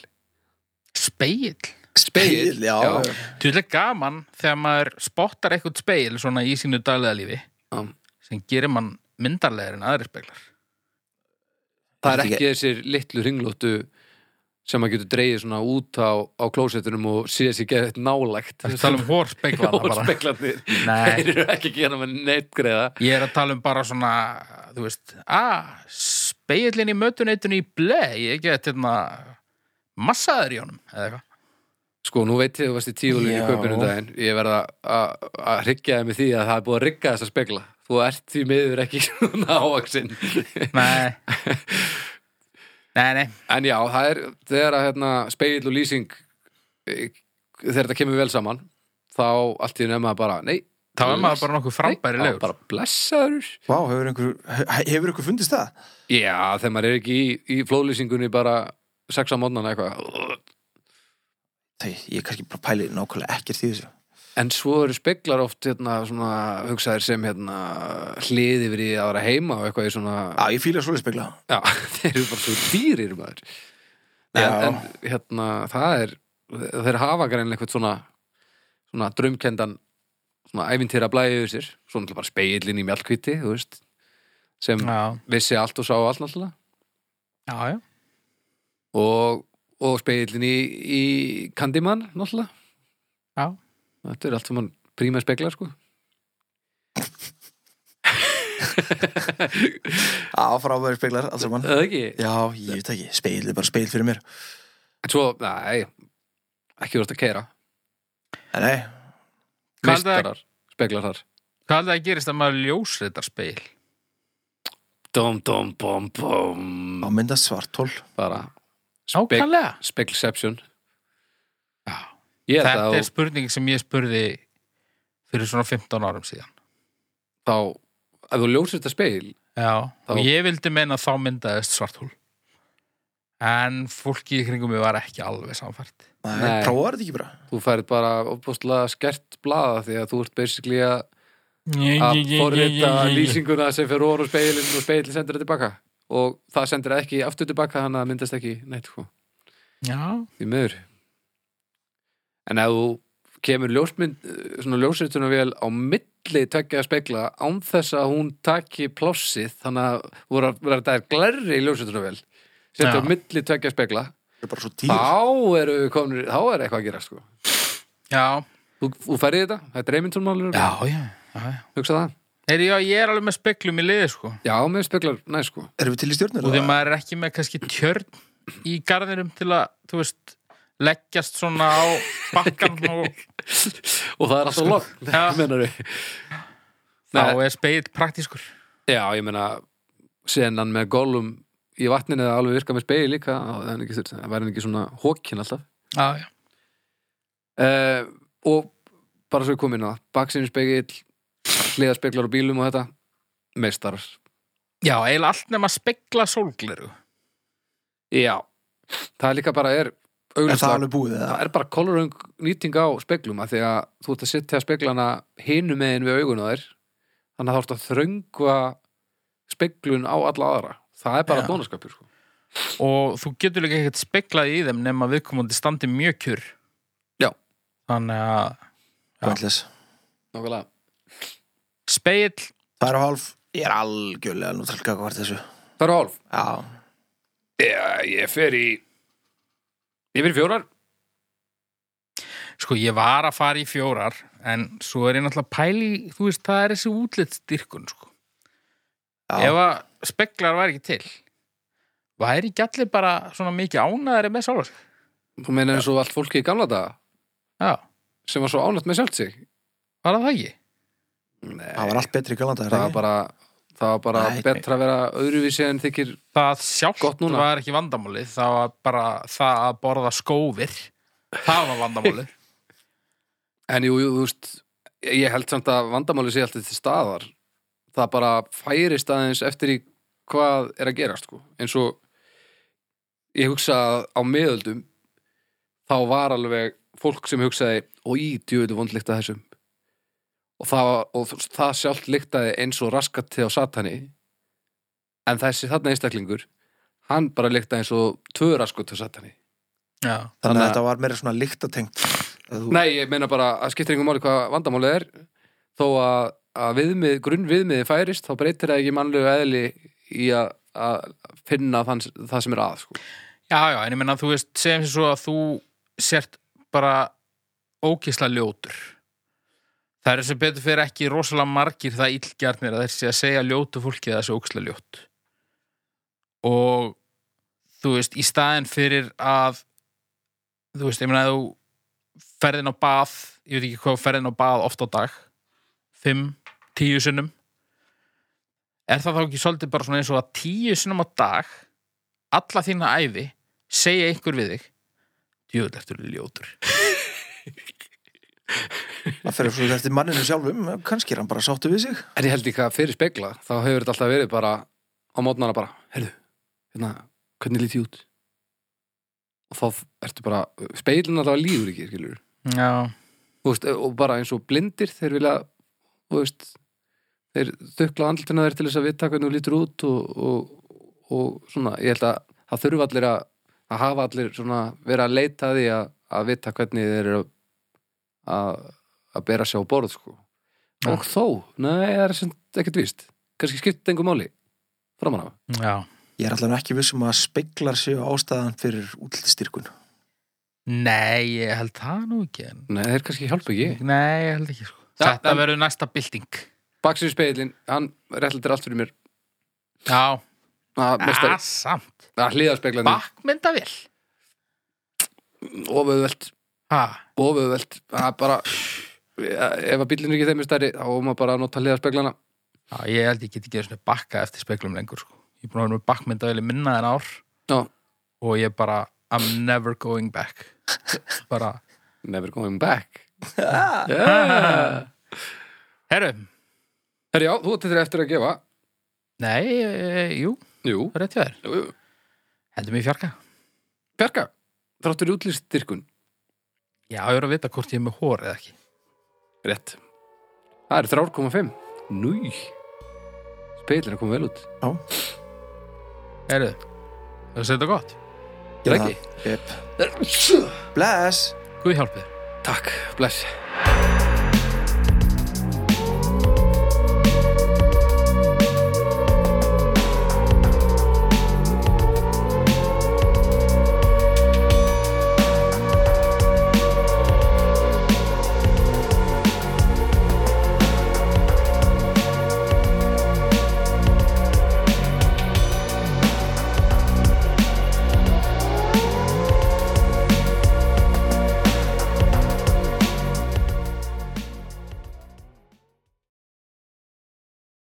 Speaker 1: spegill
Speaker 3: Spegill,
Speaker 2: já.
Speaker 3: já.
Speaker 1: Þú veitlega gaman þegar maður spottar eitthvað spegil svona í sínu daglega lífi
Speaker 3: Já.
Speaker 1: sem gerir mann myndarlegar en aðri speglar
Speaker 3: Það er
Speaker 2: Þetta
Speaker 3: ekki þessir litlu ringlóttu sem maður getur dreigið svona út á, á klósettunum og sé sér geðið eitt nálægt.
Speaker 1: Það er að tala um hórspeglana bara
Speaker 3: Hórspeglandi.
Speaker 1: Nei.
Speaker 3: Þeir eru ekki að gera með neitt greiða.
Speaker 1: Ég er að tala um bara svona, þú veist, að spegillin í mötuneytunni í ble, ég get hérna massaður í honum, eða eitthvað.
Speaker 3: Sko, nú veit ég að þú varst í tíulun í
Speaker 2: Já.
Speaker 3: kaupinu um daginn. Ég verða að að hryggja þig með því að það er búið að rigga þessa spegla. Þú ert því miður ekki svona ávaksinn.
Speaker 1: Nei, nei, nei,
Speaker 3: en já, það er þegar að hérna, spegill og lýsing eh, þegar þetta kemur vel saman þá allt í nefna bara, nei
Speaker 1: þá er maður bara nokkuð
Speaker 3: Nei,
Speaker 1: frambærilegur.
Speaker 3: bara blessaður
Speaker 2: Vá, hefur einhver, hefur einhver fundist það?
Speaker 3: Já, þegar maður er ekki í, í flóðlýsingunni bara sex á mótnana eitthvað
Speaker 2: Þau, ég er kannski bara pælið nákvæmlega ekkert í þessu.
Speaker 3: En svo eru speglar oft hérna, svona, hugsaðir sem hérna, hliði verið að vera heima og eitthvað í svona
Speaker 2: Já, ég fíla svoleið spegla.
Speaker 3: Já, þeir eru bara svo dýrir maður en,
Speaker 2: Já.
Speaker 3: en hérna, það er þeir hafa greinlega eitthvað svona svona draumkendan svona æfintýra blæði yfir sér svona náttúrulega bara speilin í mjallkviti þú veist sem
Speaker 1: já,
Speaker 3: vissi allt og sá allt náttúrulega
Speaker 1: já, já.
Speaker 3: og, og speilin í, í Candyman náttúrulega
Speaker 1: Já.
Speaker 3: þetta er allt sem hann príma speklar sko
Speaker 2: Á, frábæri speklar, allt saman.
Speaker 3: eða ekki
Speaker 2: Já, ég veit ekki, speil er bara speil fyrir mér.
Speaker 3: en svo, nei, ekki voru að keira
Speaker 2: Nei, nei,
Speaker 1: Hvað er það-
Speaker 3: meistarar, speklar þar
Speaker 1: Hvað er það að gerist að maður ljósritar speil?
Speaker 3: dom, dom, bom, bom
Speaker 2: þá myndast svartól.
Speaker 3: bara spek,
Speaker 1: Nákvæmlega.
Speaker 3: speklception
Speaker 1: Já.
Speaker 3: ég held
Speaker 1: Þetta
Speaker 3: að
Speaker 1: er spurning sem ég spurði fyrir svona 15 árum síðan.
Speaker 3: þá að þú ljósir þetta speil
Speaker 1: Já,
Speaker 3: Þá-
Speaker 1: og ég vildi meina að þá myndaðist svarthúl. En fólki í kringum mig var ekki alveg samfært.
Speaker 2: Nei,
Speaker 3: Nei.
Speaker 2: prófaðu þetta ekki bara.
Speaker 3: þú færið bara opbústlega skert blaða því að þú ert basically að að forrita lýsinguna sem fyrir orð og speilin og speilin sendir það tilbaka og það sendir það ekki aftur tilbaka þannig að það myndast ekki neitt sko,
Speaker 1: Já,
Speaker 3: því meður en ef þú kemur ljósmynd, eh, svona ljósrituna vel á milli tveggja spegla án þess að hún taki plássið þannig að voru að vera þetta er glerri ljósrituna vel
Speaker 1: Já.
Speaker 3: setja á milli tveggja spegla
Speaker 2: Það er bara svo dýr.
Speaker 3: þá eru við komnir, þá er eitthvað að gera sko
Speaker 1: já,
Speaker 3: þú, þú færði þetta, þetta er reymintunmálur
Speaker 1: já, já. já.
Speaker 3: hugsa það,
Speaker 1: Heyri, já ég er alveg með speklum í liði, sko.
Speaker 3: já, með speglar næ sko
Speaker 2: Erum við til í stjórnir?
Speaker 1: Og því
Speaker 2: eða?
Speaker 1: maður er ekki með kannski tjörn í garðinum til að, þú veist, leggjast svona á bakkan og
Speaker 3: og það er alltaf logn
Speaker 1: Sko, Já.
Speaker 3: menar við
Speaker 1: þá er speil praktískur.
Speaker 3: já, ég meina senan með gólum í vatninu eða alveg virka með spegi líka það er ekki, það væri ekki svona hókin alltaf
Speaker 1: Já, já.
Speaker 3: uh, og bara svo ég kom inn á það baksinu spegill, hliðaspeglar og bílum og þetta, meistarar
Speaker 1: Já, eiginlega allt nema spekla sólgleru.
Speaker 3: já, það er líka bara er
Speaker 2: Er það
Speaker 3: auglustlega,
Speaker 2: alveg búið? eða?
Speaker 3: það er bara koloröng nýting á speglum að því að þú ert að setja speglana hinu megin við augun á þér þannig að þú ert að þröngva speglun á alla aðra það er bara
Speaker 2: Já.
Speaker 3: dónaskapur sko.
Speaker 1: Og þú getur líka ekkert speklað í þeim nema viðkomandi standi mjög kjur.
Speaker 3: Já.
Speaker 1: Þannig að
Speaker 2: Pointless.
Speaker 3: Nákvæmlega.
Speaker 1: speill
Speaker 2: Tvær og hálf. Ég er algjörlega nútralka hvort þessu.
Speaker 3: það eru hálf
Speaker 2: Já.
Speaker 3: ég, ég fer í ég fer í fjórar
Speaker 1: Sko, ég var að fara í fjórar en svo er ég náttúrulega pæli þú veist, það er þessi útlitsdyrkun sko.
Speaker 2: Já.
Speaker 1: ef að speklar væri ekki til væri ekki allir bara svona mikið ánæðari með sála sig
Speaker 3: þú meina eins og allt fólki í gamla daga
Speaker 1: Já,
Speaker 3: sem var svo ánætt með sjálft sig
Speaker 1: var það ekki?
Speaker 2: Það var allt betri í galanda.
Speaker 3: það var bara, það var bara
Speaker 2: Nei.
Speaker 3: betra að vera öðruvísi en þykir
Speaker 1: Það sjálft
Speaker 3: Gott núna.
Speaker 1: var ekki vandamálið það var bara það að borða skófir það var vandamálið
Speaker 3: en jú, jú, þú veist ég held samt að vandamáli sé alltaf til staðar það bara færist aðeins eftir í hvað er að gerast sko. eins og ég hugsa að á meðöldum þá var alveg fólk sem hugsaði og í djöðu vond líkta þessum og það, var- og það sjálft líktaði eins og raskat til á satani en þessi þarna einstaklingur hann bara líktaði eins og tvö raskat til satani
Speaker 1: Já,
Speaker 2: Þannig
Speaker 3: Þannig
Speaker 2: að
Speaker 3: að-
Speaker 2: þetta var meira svona líktatengt. Að þú-
Speaker 3: Nei, ég meina bara að skiptir einhver máli hvað vandamálið er þó að, að viðmið, grunnviðmiði færist þá breytir það ekki mannlegu eðli í að, að finna þann, það sem er að sko.
Speaker 1: já, já en ég menna þú veist segjum sér svo að þú sért bara ókisla ljótur Það eru sem betur fyrir ekki rosalega margir það illgjarnir að þeir sé að segja ljótu fólki að það sé ókslega ljótt. Og þú veist, í staðin fyrir að þú veist, ég meina að þú ferðin á bað, ég veit ekki hvað ferðin á bað oft á dag, fimm, tíu sinnum er það þá ekki svolítið bara svona eins og að tíu sinnum á dag alla þína æfi, segja einhver við þig djöfull ertu ljótur.
Speaker 2: Það fyrir svo eftir manninu sjálfum, kannski er hann bara sáttu við sig.
Speaker 3: En ég held ekki að fyrir spekla þá hefur þetta alltaf verið bara á mótnana bara, heyrðu, hérna, hvernig lítið út? Og þá ertu bara, speilin alltaf líður ekki, skilur.
Speaker 1: Já,
Speaker 3: Þú veist, eh, og bara eins og blindir þeir vilja, þú veist, þeir þukla andlutina þeir til þess að vita hvernig þú lítur út og, og, og svona, ég held að það þurfa allir að, að hafa allir svona, vera að leita að því að, að vita hvernig þeir eru að að bera sér á borð sko.
Speaker 1: Já.
Speaker 3: og þó, nei, það er sem ekkert víst kannski skiptir engu máli framan af
Speaker 1: Já.
Speaker 2: Ég er allavega ekki vissum að speiklar séu ástæðan fyrir útlitstyrkun.
Speaker 1: Nei, ég held það nú ekki en...
Speaker 3: nei, þeir kannski hjálpa ekki
Speaker 1: Nei, ég held ekki sko.
Speaker 3: Já,
Speaker 1: Þetta
Speaker 3: en-
Speaker 1: verður næsta bylting
Speaker 3: baksinu speilin, hann réttlættir allt fyrir mér Ah,
Speaker 1: Já,
Speaker 3: að,
Speaker 1: Ah, samt
Speaker 3: að hliða speilandi
Speaker 1: Bakmyndavél
Speaker 3: ofauðvelt
Speaker 1: Ha,
Speaker 3: ofauðvelt, það er bara ef að bílinn er ekki þeim er stærri þá er maður bara að nota hliða speilana
Speaker 1: já, ég held ég get ekki svona bakka eftir speklum lengur sko. Ég er búin að vera með bakmyndavél í minna en ár
Speaker 3: já,
Speaker 1: og ég bara I'm never going back bara,
Speaker 3: never going back
Speaker 2: Ah.
Speaker 3: yeah.
Speaker 1: herru
Speaker 3: herri já, þú átti þér eftir að gefa
Speaker 1: Nei, e, e, jú,
Speaker 3: jú,
Speaker 1: það er rétt hjá þér
Speaker 3: jú, jú.
Speaker 1: Hendur mig í fjarka
Speaker 3: Bjarga, þráttur útlýststyrkun
Speaker 1: Já, ég er að vita hvort ég er með hór eða ekki
Speaker 3: Rétt Það er 3,5 Núi Speilin er að koma vel út
Speaker 1: Herru, það er þetta gott
Speaker 2: Ég
Speaker 3: Er ekki?
Speaker 2: það. Jep. Bless!
Speaker 1: Guð hjálpið
Speaker 3: Takk, bless